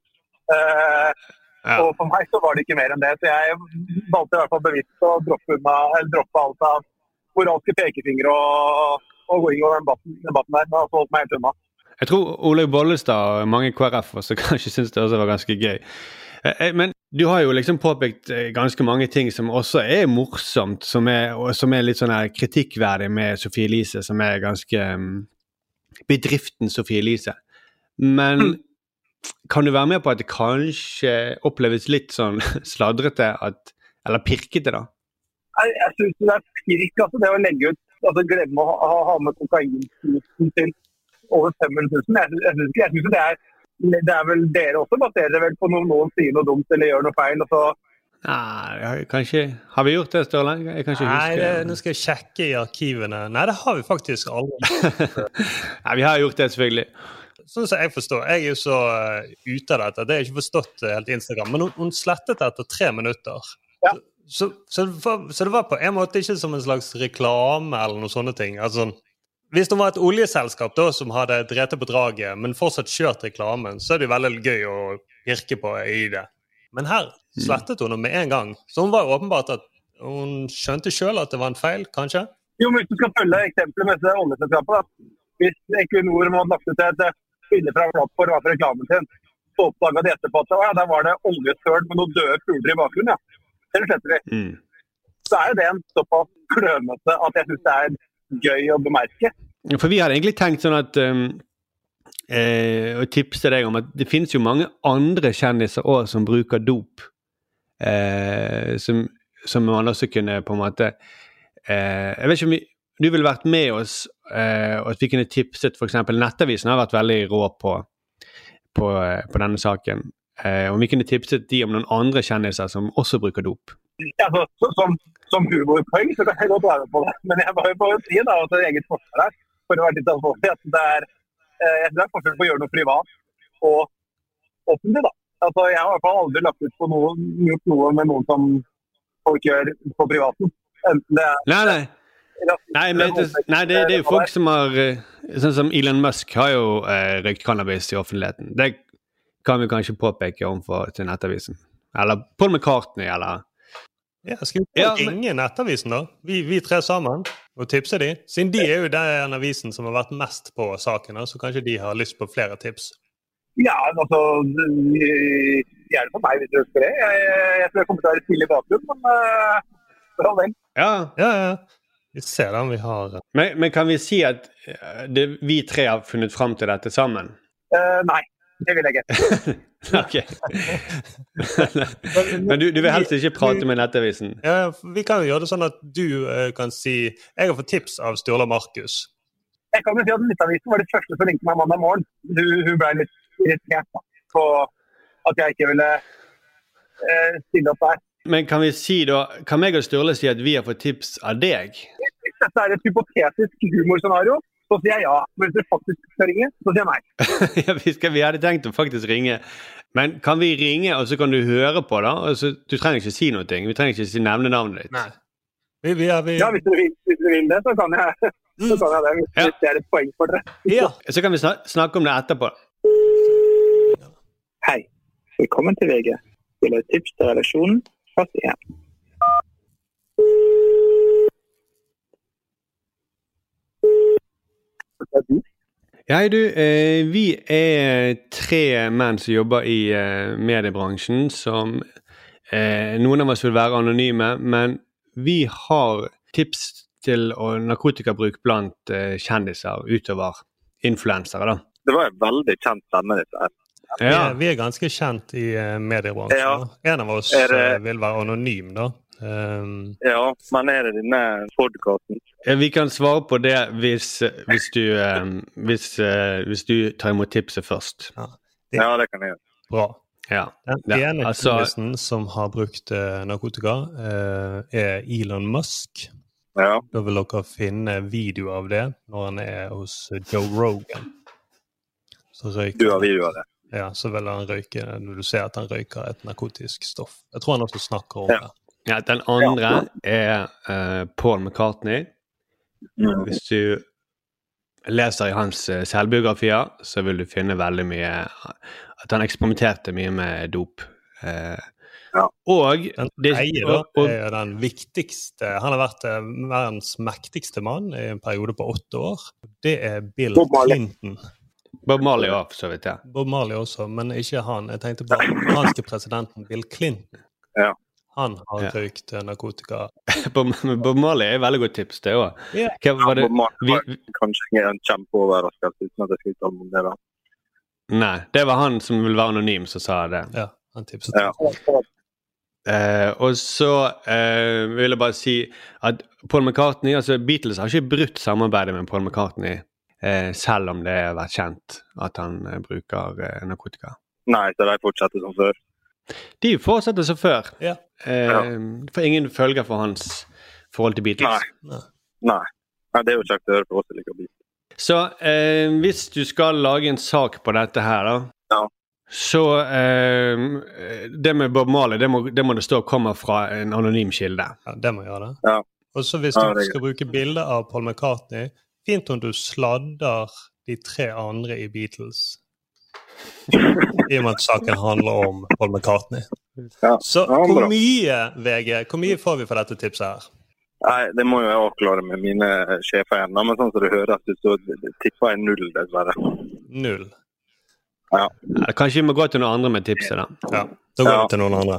Eh, Og for meg så var det ikke mer enn det. Så jeg valgte i hvert fall bevisst å droppe, unna, eller droppe alt av moralske pekefingre og å gå inn i den debatten, debatten der. Den har holdt meg helt unna. Jeg tror Olaug Bollestad og mange KrF også kanskje syntes det også var ganske gøy. Eh, eh, Men du har jo liksom påpekt eh, ganske mange ting som også er morsomt, som er, og som er litt sånn her kritikkverdig med Sophie Elise, som er ganske mm, bedriften Sophie Elise. Men kan du være med på at det kanskje oppleves litt sånn sladrete at Eller pirkete, da? Nei, jeg syns det er pirk altså, det å legge ut altså, Glemme å ha, ha med kokainprisen til over 500 000. Jeg, syns- jeg syns ikke- jeg syns jo det er Det er vel dere også baserer dere vel på når noen sier noe dumt eller gjør noe feil. og så Nei, jeg har- kanskje Har vi gjort det, Sturle? Jeg kan ikke Nei, huske. det, nå skal jeg sjekke i arkivene. Nei, det har vi faktisk aldri. Nei, vi har gjort det, selvfølgelig. Sånn som jeg forstår. Jeg er jo så eh, ute av dette. Det har jeg ikke forstått eh, helt Instagram. Men hun, hun slettet det etter tre minutter. Så, så, det var, så det var på en måte ikke som en slags reklame eller noen sånne ting. Altså, sånn, hvis det var et oljeselskap da, som hadde drete på draget, men fortsatt kjørt reklamen, så er det jo veldig gøy å pirke på i det. Men her Mm. slettet hun det med en gang. Så hun var jo åpenbart at hun skjønte sjøl at det var en feil, kanskje? Jo, men hvis du skal følge eksempelet med dette oljeselskapet, da. Hvis Equinor må ha lagt ut et eh, bilde fra en plattform av reklamen sin, så oppdaga de etterpå at «Å ja, der var det oljesøl med noen døde fugler i bakgrunnen, ja. Eller sletter vi. Så er jo det en såpass klønete at jeg syns det er gøy å bemerke. For vi hadde egentlig tenkt sånn at um, eh, Å tipse deg om at det finnes jo mange andre kjendiser òg som bruker dop. Eh, som, som man også kunne på en måte eh, Jeg vet ikke om vi, du ville vært med oss, eh, og at vi kunne tipset f.eks. Nettavisen har vært veldig rå på, på, på denne saken. Eh, om vi kunne tipset de om noen andre kjendiser som også bruker dop. Ja, så, så, som, som humorpoeng så kan jeg godt være med på det, men jeg må jo bare si da, at det er eget forsvar her, for å være litt alvorlig, at det er, eh, jeg tror det er forskjell på å gjøre noe privat og offentlig. da. Altså, Jeg har i hvert fall aldri lagt ut på noe, gjort noe med noen som folk gjør på privaten. Enten det er Nei, nei. Nei, men, det, nei det, det er jo folk som har eh, Sånn som Elon Musk har jo eh, røykt cannabis i offentligheten. Det kan vi kanskje påpeke overfor til Nettavisen. Eller Paul McCartney, eller Ja, skal vi ja, ringe Nettavisen, da? Vi, vi tre sammen, og tipse de? Siden de er jo den avisen som har vært mest på saken, da, så kanskje de har lyst på flere tips? Ja, altså eh, Gjerne for meg, hvis du ønsker det. Jeg, jeg tror jeg kommer til å være stille i bakgrunnen, men eh, for all del. Ja, ja. ja. Vi ser den vi har Men, men kan vi si at eh, det, vi tre har funnet fram til dette sammen? Eh, nei, det vil jeg ikke. ok. men du, du vil helst ikke prate med Nettavisen? Ja, vi kan jo gjøre det sånn at du eh, kan si Jeg har fått tips av Sturla Markus. Jeg kan jo si at Nettavisen var det første som ringte meg mandag morgen. Hun, hun ble litt irritert da, på at jeg ikke ville eh, stille opp der. Men kan vi si da Kan meg og Sturle si at vi har fått tips av deg? Hvis dette er et hypotetisk humorscenario, så sier jeg ja. Men hvis dere faktisk skal ringe, så sier jeg nei. ja, vi, skal, vi hadde tenkt å faktisk ringe. Men kan vi ringe, og så kan du høre på, da? Og så, du trenger ikke si noe. Vi trenger ikke si nevne navnet ditt. Vi, vi, vi... Mm. Ja, hvis dere vil, hvis dere vil det, så kan jeg, så kan jeg det. Hvis hvis det er et poeng for dere. Så kan vi snak snakke om det etterpå. Hei, velkommen til VG. Vil du ha tips til redaksjonen? Fast igjen. Ja, hei, du. Eh, vi er tre menn som jobber i eh, mediebransjen, som eh, Noen av oss vil være anonyme, men vi har tips til å- narkotikabruk blant eh, kjendiser utover influensere, da. Det var en veldig kjent stemme, dette her. Vi, er, vi er ganske kjent i eh, mediebransjen. Ja. da. En av oss Er det- eh, vil være anonym, da. Um, Ja, men er det denne podkasten? Ja, Vi kan svare på det hvis, hvis, du, eh, hvis, eh, hvis du tar imot tipset først. Ja, det kan jeg gjøre. bra. Ja. Den ja. ene Altså, kjendisen som har brukt eh, narkotika, eh, er Elon Musk. Da vil dere finne video av det når han er hos Joe Rogan. Så røyker Du har video av det. Ja, så vil han røyke når du ser at han røyker et narkotisk stoff. Jeg tror han også snakker om det. ja, den andre er eh, Paul McCartney. Hvis du leser i hans eh, selvbiografier, så vil du finne veldig mye At han eksperimenterte mye med dop. Eh, Og det, Nei, da, og, det og, er den viktigste Han har vært eh, verdens mektigste mann i en periode på åtte år. Det er Bill Bob Marley. Clinton. Bob Marley ja, for så vidt, ja. Bob Marley også, men ikke han. Jeg tenkte på den amerikanske presidenten Bill Clinton. Han har Ja. røykt eh, narkotika. Bob Bob Marley er et veldig godt tips, det òg. Ja. Hva var det Kanskje jeg er en kjempeoverraskelse uten at jeg skal uttale meg om det. da. Nei, det var han som ville være anonym, som sa det. Ja, han tipset. Ja. Eh, og så eh, vil jeg bare si at Paul McCartney altså Beatles har ikke brutt samarbeidet med Paul McCartney, eh, selv om det har vært kjent at han eh, bruker eh, narkotika. Nei, så de fortsetter som før. De fortsetter som før. Ja. Eh, det får ingen følger for hans forhold til Beatles. Nei. Nei. Nei, det er jo kjekt å høre på oss som liker bil. Så eh, hvis du skal lage en sak på dette her, da Så eh, Det med Bob Marley, det må det, må det stå kommer fra en anonym kilde. Ja, det må gjøre det. Ja. Og så hvis Ja, du det er skal bruke bilder av Paul McCartney, fint om du sladder de tre andre i Beatles. I og med at saken handler om Paul McCartney. Så Ja, bra. hvor mye, VG, hvor mye får vi for dette tipset her? Nei, det må jo jeg avklare med mine sjefer igjen, da, men sånn som det høres ut, så tipper jeg null, dessverre. Null. Ja. Ja, Kanskje vi må gå til noen andre med tipset, da. Ja, Da går vi til noen andre.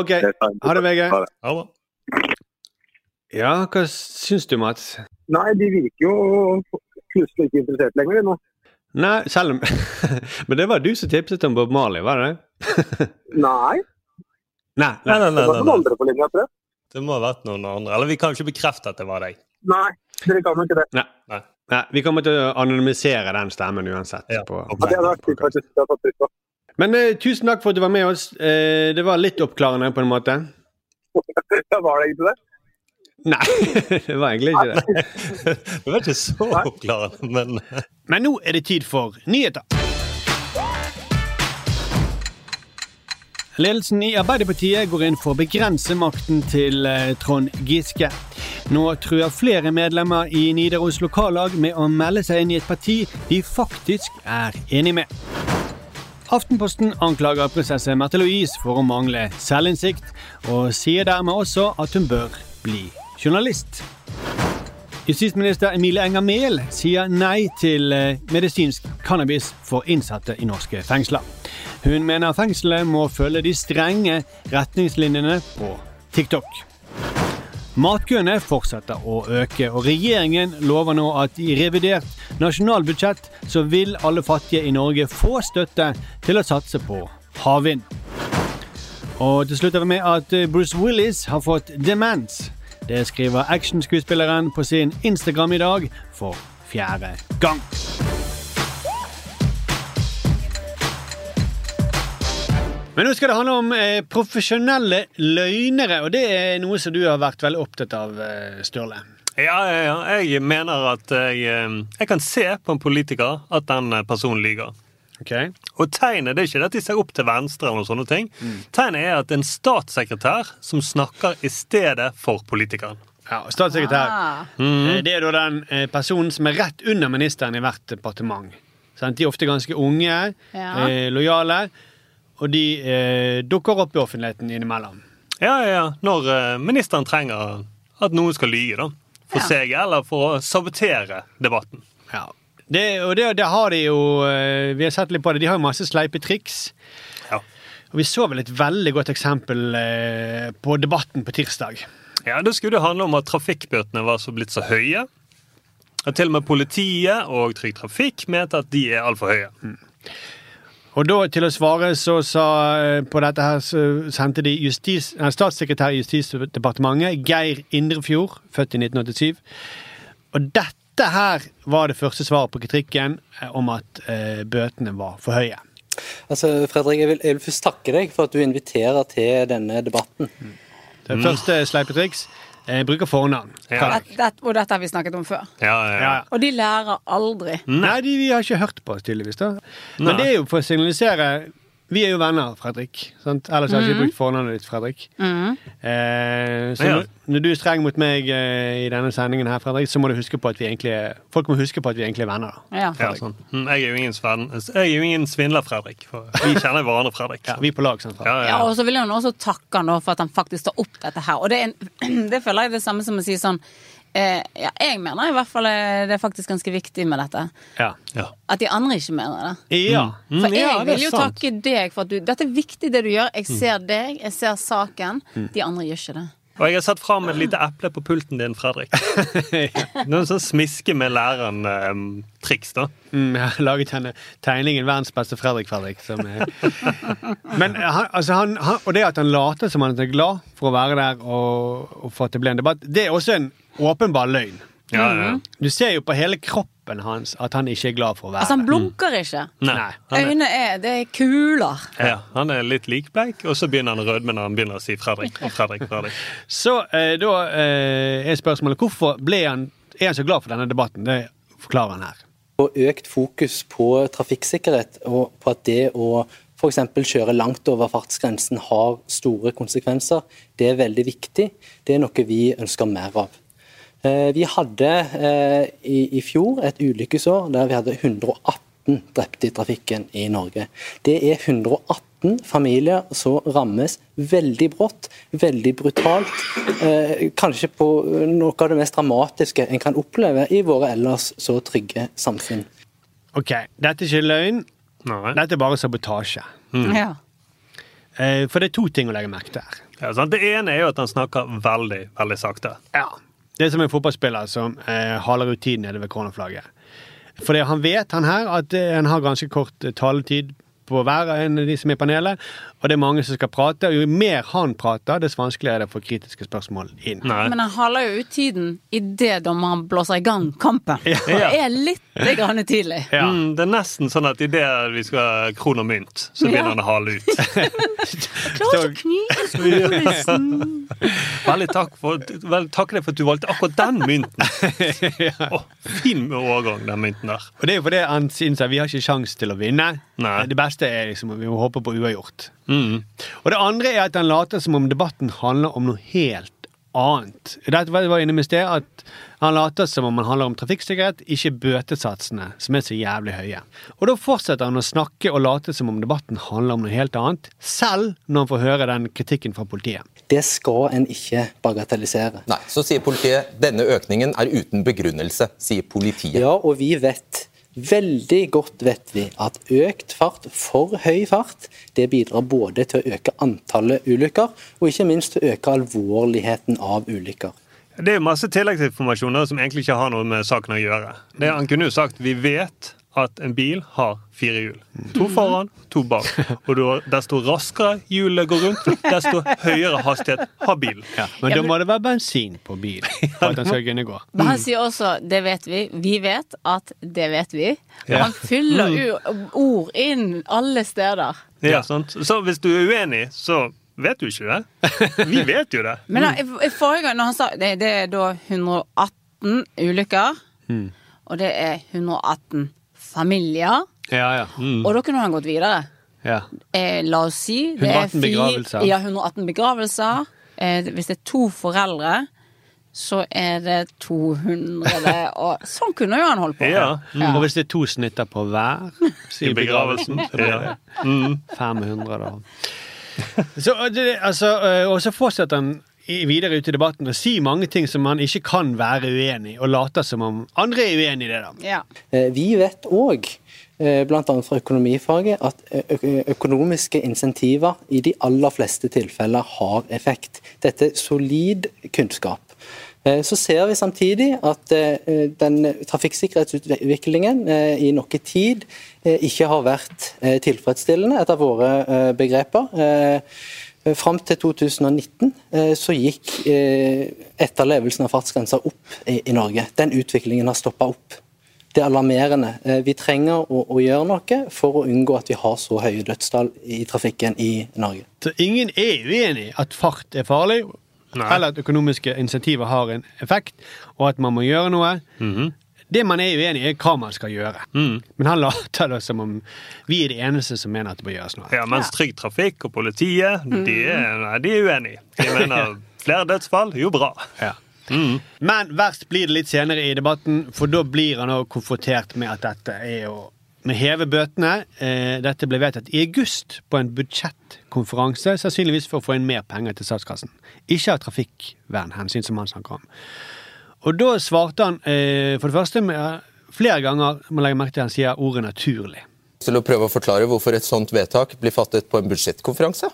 OK. Ha det, VG. Ha det. Ja, hva syns du, Mats? Nei, de virker jo plutselig ikke interessert lenger, de nå. Nei, selv om Men det var du som tipset om Bob Marley, var det det? Nei. Nei, Nei, nei, nei, Det nei, var noen nei. andre på linja, tror jeg. Det må ha vært noen andre. Eller vi kan jo ikke bekrefte at det var deg. Nei, dere kan jo ikke det. Nei. Nei. Nei, vi kommer til å anonymisere den stemmen uansett. På, Ja, det hadde vært kult faktisk. Det hadde tatt pris på. Men eh, tusen takk for at du var med oss. Eh, det var litt oppklarende på en måte. Ja, Var det egentlig det? Nei, det var egentlig ikke det. Det var ikke så oppklarende, men eh. Men nå er det tid for nyheter. Ledelsen i Arbeiderpartiet går inn for å begrense makten til eh, Trond Giske. Nå truer flere medlemmer i Nidaros lokallag med å melde seg inn i et parti de faktisk er enig med. Aftenposten anklager prinsesse Märtha Louise for å mangle selvinnsikt, og sier dermed også at hun bør bli journalist. Justisminister Emilie Enger Mehl sier nei til eh, medisinsk cannabis for innsatte i norske fengsler. Hun mener fengselet må følge de strenge retningslinjene på TikTok. Matkøene fortsetter å øke, og regjeringen lover nå at i revidert nasjonalbudsjett så vil alle fattige i Norge få støtte til å satse på havvind. Og til slutt er vi med at eh, Bruce Willis har fått demens. Det skriver actionskuespilleren på sin Instagram i dag for fjerde gang. Men nå skal det handle om eh, profesjonelle løgnere, og det er noe som du har vært veldig opptatt av, eh, Sturle. Ja, ja, ja. Jeg mener at jeg, eh, jeg kan se på en politiker at den eh, personen lyver. Okay. Og tegnet det er ikke det at de ser opp til venstre, eller noen sånne ting. Mm. Tegnet er at en statssekretær som snakker i stedet for politikeren. Ja, og statssekretær. Ah. Eh, Det er da den eh, personen som er rett under ministeren i hvert departement. Sant? De er ofte ganske unge, Ja. eh, lojale, og de eh, dukker opp i offentligheten innimellom. Ja, ja, ja. Når eh, ministeren trenger at noen skal lyge, da. For seg, eller for å sabotere debatten. Ja. Det, og det, det har de jo eh, Vi har sett litt på det. De har jo masse sleipe triks. Og vi så vel et veldig godt eksempel eh, på debatten på tirsdag. Ja, Da skulle det handle om at trafikkbøtene var så blitt så høye. At til og med politiet og Trygg Trafikk mente at de er altfor høye. Mm. Og da til å svare så sa eh, på dette her så sendte de justis, nei, statssekretær i Justisdepartementet Geir Indrefjord, født i 1987. Og dette her var det første svaret på kritikken eh, om at eh, bøtene var for høye. Altså, Fredrik, jeg vil, jeg vil først takke deg for at du inviterer til denne debatten. Det første sleipe triks eh, bruker fornavn. Dette- dette- og dette har vi snakket om før. Ja. Og de lærer aldri. Nei, de, vi har ikke hørt på oss tydeligvis. da. Men Nei. det er jo for å signalisere Vi er jo venner, Fredrik. Sant? Ellers hadde jeg ikke Mhm. brukt fornavnet ditt, Fredrik. Mhm. Eh, så Ja, når- Når du er streng mot meg eh, i denne sendingen, her, Fredrik, så må du huske på at vi egentlig er, folk må huske på at vi egentlig er venner. da. Ja. Fredrik. Mm, Jeg er jo ingen, sven, jeg er jo ingen svindler, Fredrik. For vi kjenner hverandre, Fredrik. vi er på lag, sant? Ja, Ja, ja, og så vil jeg jo nå også takke han da for at han faktisk tar opp dette her. Og det, er en, det føler jeg er det samme som å si sånn eh, Ja, jeg mener i hvert fall eh, det er faktisk ganske viktig med dette. Ja. At de andre ikke mener det. Ja. Mm, For jeg ja, det er vil jo sant. takke deg for at du Dette er viktig, det du gjør. Jeg Mm. ser deg, jeg ser saken. Mm. De andre gjør ikke det. Og jeg har satt fram et lite eple på pulten din, Fredrik. Noen sånn smiske med læreren-triks, da. Mm, jeg har laget henne tegningen 'Verdens beste Fredrik Fredrik'. Som er. Men han, altså han, han, og det at han later som han er glad for å være der, og, og for at det ble en debatt, det er også en åpenbar løgn. Ja, ja, ja. Mhm. Du ser jo på hele kroppen hans at han ikke er glad for å være Altså, han der. blunker Mm. ikke. Nei. Han er, Øynene er Det er kuler. ja, han er litt likbleik, og så begynner han å rødme når han begynner å si Fredrik. Fredrik, Fredrik. Så eh, da eh, er spørsmålet hvorfor ble han, er han så glad for denne debatten? Det forklarer han her. Og økt fokus på trafikksikkerhet, og på at det å f.eks. kjøre langt over fartsgrensen har store konsekvenser, det er veldig viktig. Det er noe vi ønsker mer av. Eh, Vi hadde eh, i, i fjor et ulykkesår der vi hadde 118 drepte i trafikken i Norge. Det er 118 familier som rammes veldig brått, veldig brutalt. eh, Kanskje på noe av det mest dramatiske en kan oppleve i våre ellers så trygge samfunn. Ok, dette er ikke løgn. Dette er bare sabotasje. Mm. Ja. Eh, for det er to ting å legge merke til her. Ja, sant? Det ene er jo at han snakker veldig, veldig sakte. Det er som en fotballspiller som eh, haler ut tid nede ved cornerflagget. For det han vet, han her, at eh, han har ganske kort eh, taletid på hver en av de som er i panelet, og det er mange som skal prate. Og jo mer han prater, dess vanskeligere er det å få kritiske spørsmål inn. Men han haler jo ut tiden idet dommeren blåser i gang kampen. Det Ja. er litt grann tidlig. Mm, det er nesten sånn at idet vi skal ha kron og mynt, så Ja. begynner han å hale ut. Klarer ikke å knive Ja. Veldig takk for, vel, takk deg for at du valgte akkurat den mynten. Å, fin med overgang, den mynten der. Og det er jo fordi han syns at vi har ikke sjans til å vinne. Det beste er liksom at vi må håpe på uavgjort. Og det andre er at han later som om debatten handler om noe helt annet. Dette var jeg var inne med i sted, at han later som om han handler om trafikksikkerhet, ikke bøtesatsene, som er så jævlig høye. Og da fortsetter han å snakke og late som om debatten handler om noe helt annet, selv når han får høre den kritikken fra politiet. Det skal en ikke bagatellisere. Nei, så sier politiet denne økningen er uten begrunnelse, sier politiet. Ja, og vi vet, veldig godt vet vi, at økt fart, for høy fart, det bidrar både til å øke antallet ulykker, og ikke minst til å øke alvorligheten av ulykker. Det er jo masse tilleggsinformasjon da, som egentlig ikke har noe med saken å gjøre. Det, han kunne jo sagt vi vet at en bil har fire hjul. To foran, to bak. Og da- desto raskere hjulet går rundt, desto høyere hastighet har bilen. Men da må det være bensin på bilen for at han skal kunne gå. Men han sier også 'det vet vi', 'vi vet at det vet vi'. Og Ja. han fyller Mm. u- ord inn alle steder. Ja, sant? Så hvis du er uenig, så vet du ikke det. Vi vet jo det. Mm. Men da, i- i forrige gang når han sa det, det er da 118 ulykker, Mm. og det er 118 familier, Ja, ja. Mm. og da kunne han gått videre. ja. Eh, la oss si det er 118 fi- begravelser. Ja, 118 begravelser. Eh, hvis det er to foreldre, så er det 200 og Sånn kunne jo han holdt på. Ja. Og hvis det er to snitter på hver Mm. I begravelsen, så blir det ja. 500, Mm. da. Så, eh, det, altså, eh, og så fortsetter han i- videre ute i debatten å si mange ting som han ikke kan være uenig i, og later som om andre er uenig i det. da. Eh, Vi vet òg, bl.a. fra økonomifaget, at eh, ø- ø- økonomiske insentiver i de aller fleste tilfeller har effekt. Dette er solid kunnskap. Eh, Så ser vi samtidig at eh, den trafikksikkerhetsutviklingen eh, i noe tid eh, ikke har vært eh, tilfredsstillende, etter våre eh, begreper. Eh, Fram til 2019 eh, så gikk eh, etterlevelsen av fartsgrensa opp i, i Norge. Den utviklingen har stoppa opp. Det er alarmerende. Eh, Vi trenger å, å gjøre noe for å unngå at vi har så høye dødstall i trafikken i Norge. Så ingen er uenig i at fart er farlig, eller at økonomiske insentiver har en effekt, og at man må gjøre noe. Det man er uenig i, er hva man skal gjøre. Men han later da som om vi er de eneste som mener at det bør gjøres noe. Ja, mens Trygg Trafikk og politiet, de, er- nei, de er uenige. De mener Flere dødsfall, jo bra. Mm. Men verst blir det litt senere i debatten, for da blir han også konfrontert med at dette er å med heve bøtene. Eh, Dette ble vedtatt i august på en budsjettkonferanse, sannsynligvis for å få inn mer penger til statskassen. Ikke av trafikkvernhensyn, som han snakker om. Og da svarte han eh, for det første med, flere ganger, man legger merke til han sier ordet naturlig. Til å prøve å forklare hvorfor et sånt vedtak blir fattet på en budsjettkonferanse?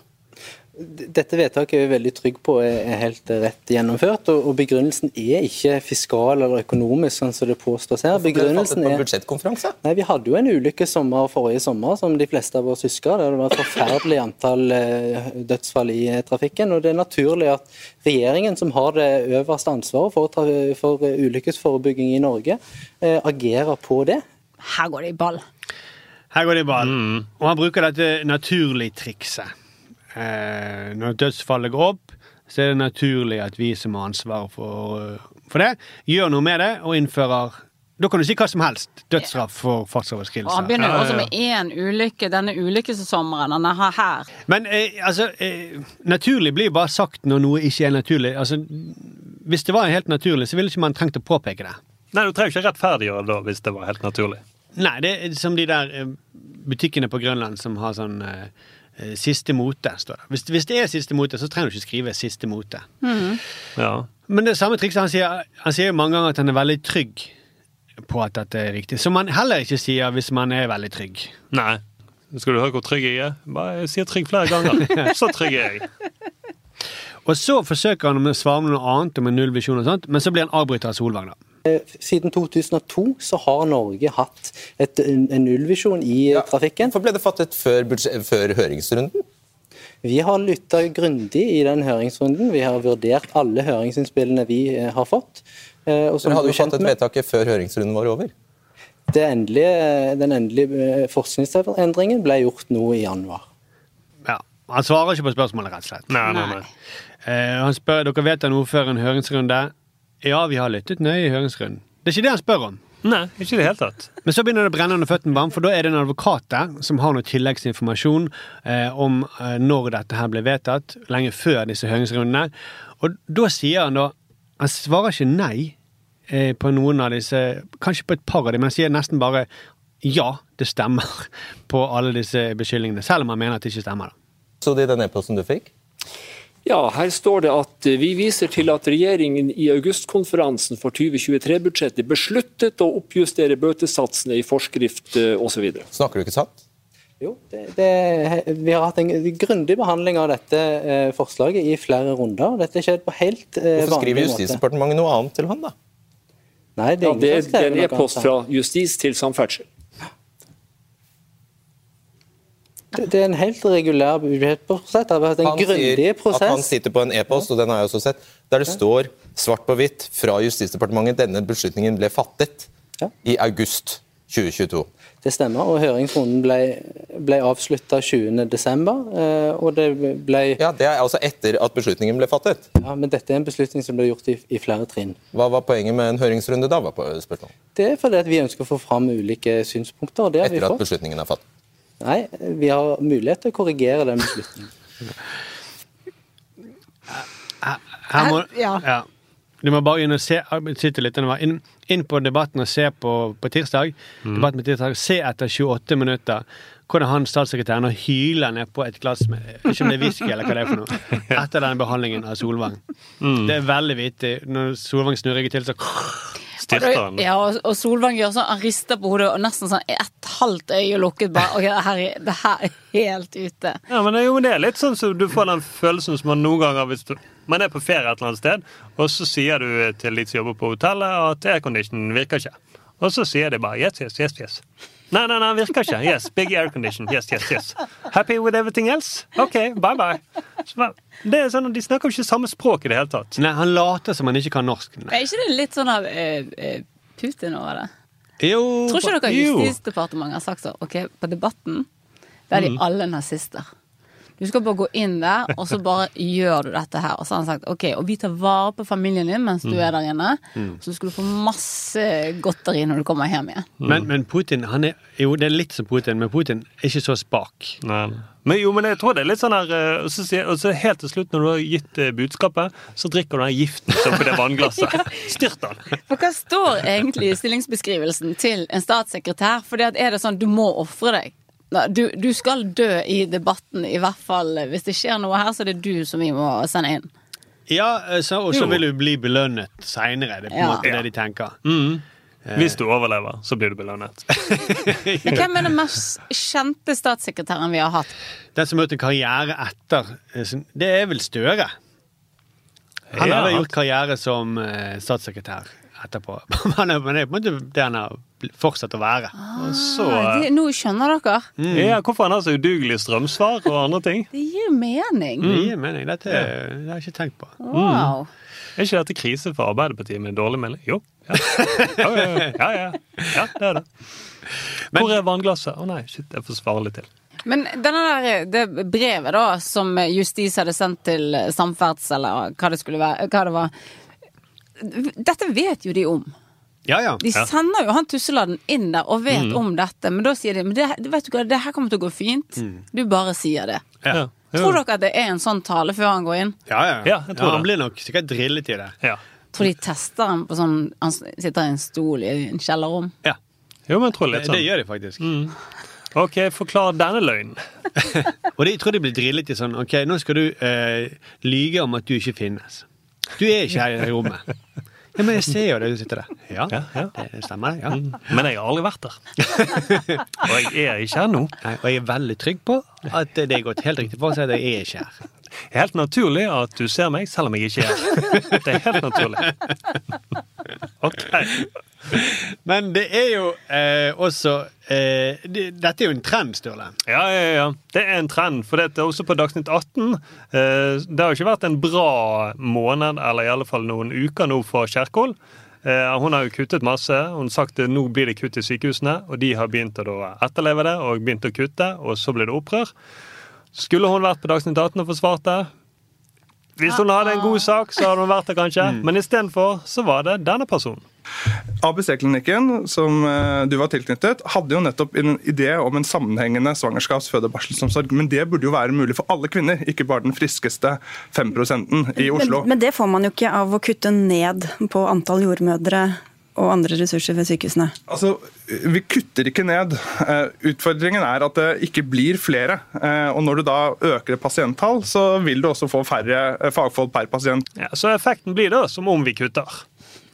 Dette vedtaket er vi veldig trygg på er er helt rett gjennomført. og og Begrunnelsen er ikke fiskal eller økonomisk, sånn som det påstås her. ble det fattet Begrunnelsen på en er... Nei, Vi hadde jo en ulykke sommer forrige sommer, som de fleste av oss husker. Der det var et forferdelig antall eh, dødsfall i eh, trafikken. og Det er naturlig at regjeringen, som har det øverste ansvaret for, tra- for eh, ulykkesforebygging i Norge, eh, agerer på det. Her går det i ball. Her går det i ball. Og han bruker dette naturlig-trikset. Eh, når dødsfallet går opp, så er det naturlig at vi som har ansvaret for, eh, for det, gjør noe med det og innfører Da kan du si hva som helst. Dødsstraff for fartsoverskridelser. Og han begynner jo Ja, også ja, ja. med én ulykke denne ulykkesommeren han har her. Men eh, altså, eh, naturlig blir bare sagt når noe ikke er naturlig. Altså, hvis det var helt naturlig, så ville ikke man trengt å påpeke det. Nei, Du trenger ikke rettferdiggjøre det da, hvis det var helt naturlig. Nei, det er som de der eh, butikkene på Grønland som har sånn eh, eh, Siste mote, står det. Hvis, hvis det er siste mote, så trenger du ikke skrive 'siste mote'. Men det er samme trikset han sier. Han sier jo mange ganger at han er veldig trygg på at dette er riktig. Som man heller ikke sier hvis man er veldig trygg. Nei. Skal du høre hvor trygg jeg er? Bare jeg sier trygg flere ganger. Så trygg er jeg. Og så forsøker han å svare med noe annet om en nullvisjon, og sånt, men så blir han avbrytet av Solvang. da. Eh, Siden 2002 så har Norge hatt et, en en nullvisjon i eh, trafikken. Hvorfor ble det fattet før, høringsrunden? Vi har lytta grundig i den høringsrunden. Vi har vurdert alle høringsinnspillene vi eh, har fått. eh, og som Dere hadde du er jo kjent fattet med- vedtaket før høringsrunden var over. Det endelige, den endelige eh, forskningsendringen ble gjort nå i januar. Ja, Han svarer ikke på spørsmålet, rett og slett. Nei, nei, nei. Eh, han spør dere vet han ordfører en høringsrunde. Ja, vi har lyttet nøye i høringsrunden. Det er ikke det han spør om. Nei, ikke i det hele tatt. Men så begynner det å brenne under føttene på ham, for da er det en advokat der som har noe tilleggsinformasjon eh, om eh, når dette her ble vedtatt, lenge før disse høringsrundene. Og da sier han da Han svarer ikke nei eh, på noen av disse, kanskje på et par av dem, men han sier nesten bare ja, det stemmer på alle disse beskyldningene, selv om han mener at det ikke stemmer. da. Så det i den e-posten du fikk? Ja, her står det at eh, vi viser til at regjeringen i augustkonferansen for 2023-budsjettet besluttet å oppjustere bøtesatsene i forskrift eh, osv. Snakker du ikke sant? det, vi har hatt en grundig behandling av dette eh, forslaget i flere runder. og Dette skjedde på helt eh, Hvorfor vanlig skriver måte. Justisdepartementet noe annet til han, da? Nei, det Ja, er ingen det som er skriver en noe e-post annet. fra justis til samferdsel. Det, det er en helt regulær budsjettprosess. Det har vært en Han sier grundig at han prosess. sitter på en e-post, og den har jeg også sett, der det står svart på hvitt fra Justisdepartementet denne beslutningen ble fattet i august 2022. Det stemmer. og Høringsrunden ble, ble avslutta 20.12. Eh, og det ble Ja, Det er altså etter at beslutningen ble fattet. Ja, men dette er en beslutning som ble gjort i, i flere trinn. Hva var poenget med en høringsrunde da? var på spørsmålet? Det er fordi at vi ønsker å få fram ulike synspunkter, og det har Etter vi at fått. beslutningen er fattet. Nei, vi har mulighet til å korrigere den beslutningen. Her må, Ja. ja. Du må bare inn og se sitte litt, nå, inn, inn på debatten og se på, på tirsdag. Debatten på tirsdag, Se etter 28 minutter hvordan han statssekretæren og hyler ned på et glass med Ikke om det er whisky eller hva det er for noe. Etter denne behandlingen av Solvang. Det er veldig vittig. Når Solvang snur ryggen til, så styrter han. Ja, og, og Solvang gjør sånn, han rister på hodet og nesten sånn et halvt øye lukket. Bare, ok, det her, er- det her er helt ute. Ja, men det, jo, men det er litt sånn som Du får den følelsen som man noen ganger hvis du, man er på ferie et eller annet sted, og så sier du til de som jobber på hotellet at aircondition virker ikke. Og så sier de bare yes, yes, yes. yes. Nei, nei, nei, virker ikke. Yes, big aircondition. Yes, yes, yes. Happy with everything else? OK, bye, bye. Så, bare- det er sånn, at de snakker jo ikke samme språk i det hele tatt. Nei, han later som han ikke kan norsk. Er ikke det litt sånn av eh, eh, Putin over det? Jo, Tror ikke dere jo. Justisdepartementet har sagt så? Ok, på Debatten, der er de Mhm. alle nazister. Du skal bare gå inn der, og så bare gjør du dette her. Og så har han sagt ok, og vi tar vare på familien din mens du Mm. er der inne. Mm. Så skal du få masse godteri når du kommer hjem igjen. Men, men Putin han er Jo, det er litt som Putin, men Putin er ikke så spak. Men jo, men jeg tror det er litt sånn her eh, Og så, sier- og så helt til slutt, når du har gitt eh, budskapet, så drikker du den giften som er oppi det vannglasset. Styrt den! For hva står egentlig i stillingsbeskrivelsen til en statssekretær? For det er det sånn, du må ofre deg. Da, Du, du skal dø i debatten, i hvert fall hvis det skjer noe her, så er det du som vi må sende inn. Ja, eh, så, og så Jo. vil du bli belønnet seinere. Det er på en Ja. måte det de tenker. Mm. Eh. Hvis du overlever, så blir du belønnet. Men hvem er den mest kjente statssekretæren vi har hatt? Den som har gjort en karriere etter eh, sin- Det er vel Støre. Han Ja. har vel gjort karriere som eh, statssekretær etterpå. Men det er på en måte det han har bl- fortsatt å være. eh, Ah, eh, det, nå skjønner dere. Mm. Ja, hvorfor han har så udugelige strømsvar og andre ting? Det gir mening. Mm. Det gir mening. Dette det har jeg ikke tenkt på. Wow. Er ikke dette krise for Arbeiderpartiet med dårlig melding? Jo. Ja, ja, ja. ja, ja. ja det er det. Hvor er vannglasset? Å nei, shit, det er for svarlig til. Men denne der, eh, det brevet da, som eh, justis hadde sendt til samferdsel, eller hva det skulle være, hva det var, dette vet jo de om. Ja, ja. De sender jo han tusseladden inn der og vet Mm. om dette, men da sier de men det, vet du hva, det her kommer til å gå fint. Mm. Du bare sier det. Ja. Ja. Tror dere at det er en sånn tale før han går inn? Ja, ja. Ja, jeg tror han det. blir nok sikkert drillet i det. Tror de tester ham på sånn Han sitter i en stol i en kjellerrom. Jo, men jeg tror litt Det- sånn. det gjør de faktisk. Ok, forklar denne løgnen. og de jeg tror de blir drillet i sånn OK, nå skal du eh, lyge om at du ikke finnes. Du er ikke her i det rommet. Ja, men jeg ser jo det, du sitter der. Ja, det stemmer det. ja. Mm. Men jeg har aldri vært der. Og jeg er ikke her nå. Nei, og jeg er veldig trygg på at det er gått helt riktig for seg at jeg er ikke her. Helt naturlig at du ser meg selv om jeg ikke er her. Det er helt naturlig. Men det er jo eh, også eh, det, Dette er jo en trend, Sturle. Ja, ja, ja. Det er en trend. For det er også på Dagsnytt 18. Eh, det har jo ikke vært en bra måned, eller i alle fall noen uker nå, for Kjerkol. Eh, hun har jo kuttet masse. Hun har sagt at nå blir det kutt i sykehusene, og de har begynt å da etterleve det og begynt å kutte, og så blir det opprør. Skulle hun vært på Dagsnytt 18 og forsvart det? Hvis hun hadde en god sak, så hadde hun vært det kanskje. Men istedenfor så var det denne personen. ABC-klinikken, som eh, du var tilknyttet, hadde jo nettopp en idé om en sammenhengende svangerskaps-, føde- og barselsomsorg. Men det burde jo være mulig for alle kvinner, ikke bare den friskeste 5 i Oslo. Men, men det får man jo ikke av å kutte ned på antall jordmødre og andre ressurser ved sykehusene. Altså, Vi kutter ikke ned. Eh, Utfordringen er at det ikke blir flere. Eh, Og når du da øker et pasienttall, så vil du også få færre eh, fagfolk per pasient. Ja, så effekten blir da som om vi kutter.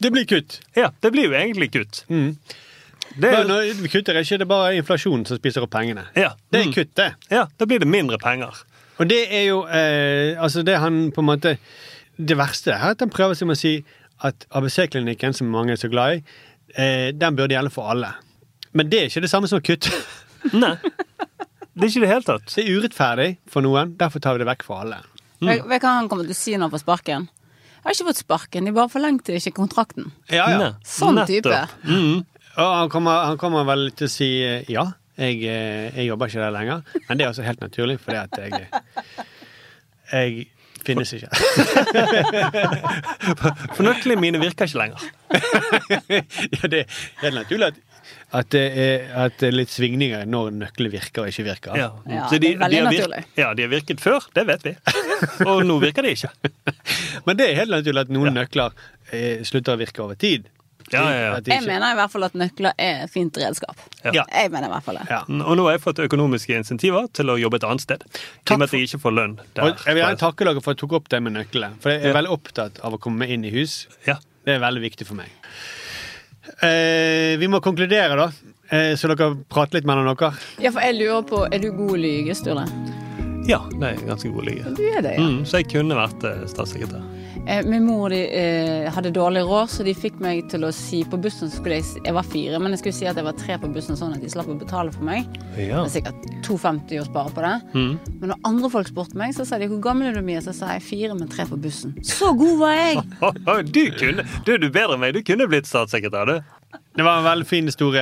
Det blir kutt. Mm. Ja, det blir jo egentlig kutt. Det er, når vi kutter ikke, det er bare inflasjonen som spiser opp pengene. Det er kutt, det. Mm. Ja, da blir det mindre penger. Og det er jo eh, Altså, det han på en måte Det verste er at han prøver seg med å si at ABC-klinikken, som mange er så glad i, eh, den burde gjelde for alle. Men det er ikke det samme som å kutte. Nei. Det er ikke det helt tatt. Det er urettferdig for noen, derfor tar vi det vekk for alle. Mm. Vet vet hva han kommer til å si når han får sparken? Jeg har ikke fått sparken, de bare forlengte ikke kontrakten. Ja, ja. Sånn type. Mm. Og han kommer, han kommer vel til å si eh, ja, jeg, eh, jeg jobber ikke der lenger. Men det er også helt naturlig, fordi at jeg Jeg finnes ikke. For nøklene mine virker ikke lenger. ja, det er helt naturlig at, at, det er, at det er litt svingninger når nøklene virker og ikke virker. Ja. Så de- de har virk- Ja, de har virket før, det vet vi. Og nå virker de ikke. Men det er helt naturlig at noen nøkler eh, slutter å virke over tid. At de Jeg ikke- mener i hvert fall at nøkler er et fint redskap. Ja. Jeg mener i hvert fall det. Og nå har jeg fått økonomiske insentiver til å jobbe et annet sted. I og med at jeg ikke får lønn der. Og jeg vil gjerne takke dere for at dere tok opp det med nøklene. For jeg er veldig opptatt av å komme inn i hus. Det er veldig viktig for meg. Eh, vi må konkludere, da. Eh, så dere prater litt mellom dere. Ja, for jeg lurer på, er du god lyge, Sturle? Ja, det er en ganske god lyge. Du er det, ja. Mm, så jeg kunne vært eh, statssekretær. Eh, Min mor de, eh, hadde dårlig råd, så de fikk meg til å si på bussen så skulle jeg, si- jeg var fire, men jeg skulle si at jeg var tre på bussen, sånn at de slapp å betale for meg. Ja. Det er sikkert 2,50 å spare på det. Mm. Men når andre folk spurte meg, så sa de 'hvor gammel er du, Mia?' Så sa jeg 'fire, men tre på bussen'. Så god var jeg! Du, kunne, du, du er bedre enn meg. Du kunne blitt statssekretær, du. Det var en veldig fin historie.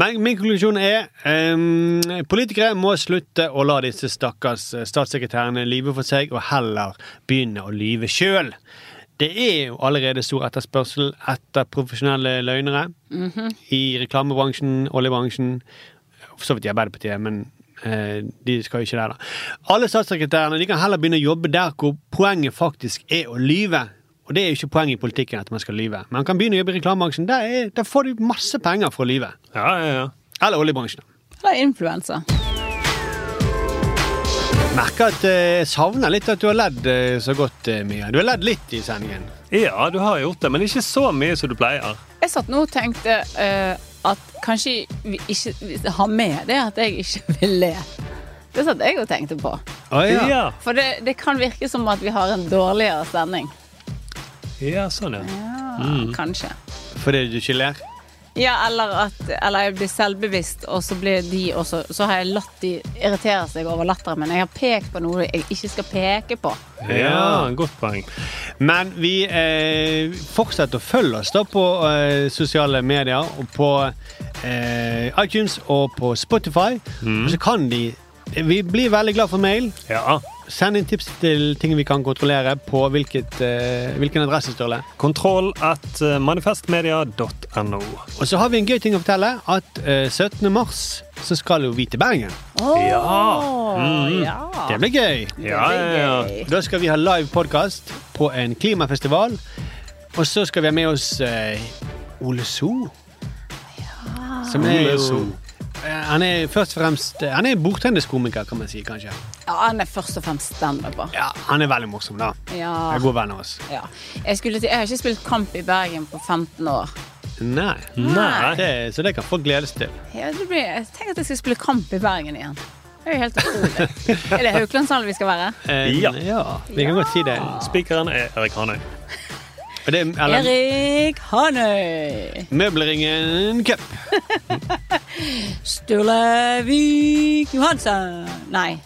Men min konklusjon er ehm, politikere må slutte å la disse stakkars eh, statssekretærene lyve for seg, og heller begynne å lyve sjøl. Det er jo allerede stor etterspørsel etter profesjonelle løgnere Mhm. i reklamebransjen, oljebransjen, for så vidt i Arbeiderpartiet, men eh, de skal jo ikke der, da. Alle statssekretærene de kan heller begynne å jobbe der hvor poenget faktisk er å lyve. Og det er jo ikke poenget i politikken at man skal lyve. Men man kan begynne å jobbe i reklamebransjen. Der, er, der får du masse penger for å lyve. Eller oljebransjen. Eller influensa. Merker at eh, jeg savner litt at du har ledd eh, så godt, eh, Mia. Du har ledd litt i sendingen. Ja, du har gjort det, men ikke så mye som du pleier. Jeg satt nå og tenkte eh, at kanskje vi ikke vi har med det at jeg ikke vil le. Det satt jeg og tenkte på. Å, ja. Ja. For det, det kan virke som at vi har en dårligere sending. Ja, sånn, ja. Mm. Kanskje. Fordi du ikke ler? Ja, eller at eller jeg blir selvbevisst, og så blir de også Så har jeg latt de irritere seg over latteren, men jeg har pekt på noe jeg ikke skal peke på. Ja, godt poeng. Men vi eh, fortsetter å følge oss da på eh, sosiale medier og på eh, iTunes og på Spotify. Mm. Og så kan de Vi blir veldig glad for mail. Send inn tips til ting vi kan kontrollere på hvilket, eh, hvilken adresse, Sturle. Kontroll at eh, manifestmedia.no. Og så har vi en gøy ting å fortelle. At eh, 17. mars så skal jo vi til Bergen. Åh, Ja. Mm. ja. Det blir gøy. Ja, ja, ja. Da skal vi ha live podkast på en klimafestival. Og så skal vi ha med oss eh, Ole So. Som Ah. er Ole jo So. Eh, Han er først og fremst eh, Han er bordtenniskomiker, kan man si. kanskje Ja, han er først og fremst standuper. Ja. Han er veldig morsom, da. Ja. Jeg er god venn av oss. ja. Jeg, skulle til, jeg har ikke spilt kamp i Bergen på 15 år. Nei. Nei. Det, så det kan folk glede seg til. Ja, det blir, jeg tenker at jeg skal spille kamp i Bergen igjen. Det er jo helt utrolig. er det Hauklandshallen vi skal være? Eh, ja. Vi kan godt si det. Spikeren er Erik Hanøy. Og det er eller, Erik Hanøy. Møbleringen Cup. Sturlevik Johansen. Nei.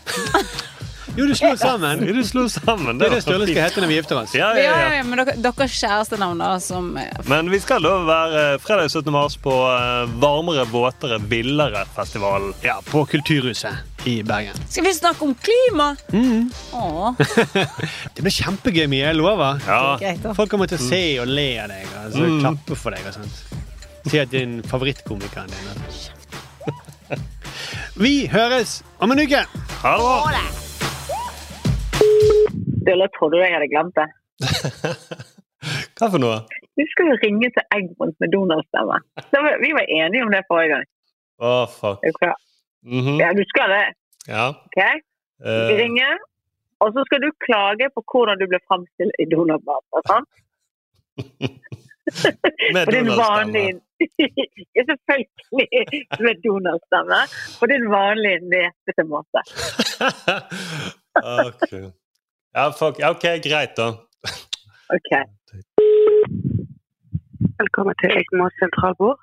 Jo, du slo sammen. Du slo sammen. Det er det Sturle skal hete når vi gifter oss. Ja, Ja, ja, ja, ja. ja, men dere, deres kjærestenavn, da, som eh, Men vi skal da være eh, fredag 17. mars på eh, Varmere, våtere, villere-festivalen. Ja, på Kulturhuset i Bergen. Skal vi snakke om klima? Mm. Åh. Det blir kjempegøy, Mia. Jeg lover. Det er greit, da. Folk kommer til å se og le av deg. Altså, Mm. Klappe for deg og sånt. Si at din favorittkomiker er din. Vi høres om en uke! Ha det bra! Sturle, jeg trodde jeg hadde glemt det. Hva for noe? Du skal jo ringe til Egmont med donorstemme. Da var- Vi var enige om det forrige gang. Å, fuck. Er du klar? Ja, du skal det. Ja. ok? Du skal Eh. ringe, og så skal du klage på hvordan du ble fremstilt i donormat. er sant? Med For din donorstemme. vanlige- ja, selvfølgelig med donorstemme. På din vanlige nesete måte. Ok. Ja, fuck. Ja, OK, greit, da. Ok. Velkommen til Egmont sentralbord.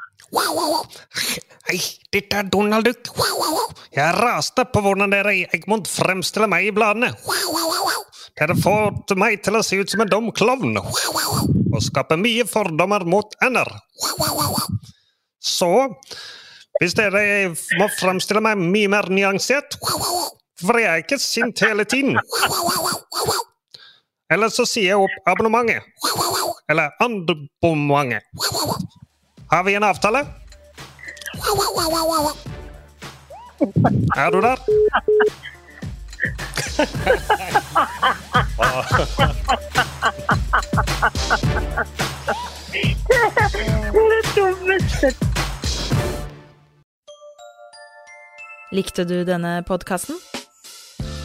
Hei, dette er Donald Duck. Jeg raste på hvordan dere i Egmont fremstiller meg i bladene. Dere får meg til å se ut som en dum klovn og skape mye fordommer mot ender. Så hvis dere må fremstille meg mye mer nyansert, for jeg er ikke sint hele tiden. Eller så sier jeg opp abonnementet. Eller abonnementet. Har vi en avtale? Er du der? Det er det dummeste Likte du denne podkasten?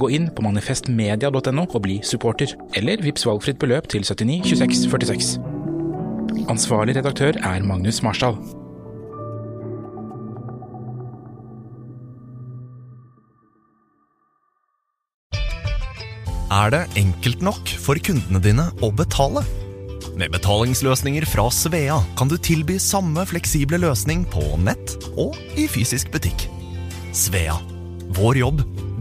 Gå inn på manifestmedia.no og bli supporter, eller vips valgfritt beløp til 79 26 46. Ansvarlig redaktør er Magnus Marsdal. Er det enkelt nok for kundene dine å betale? Med betalingsløsninger fra Svea kan du tilby samme fleksible løsning på nett og i fysisk butikk. Svea vår jobb,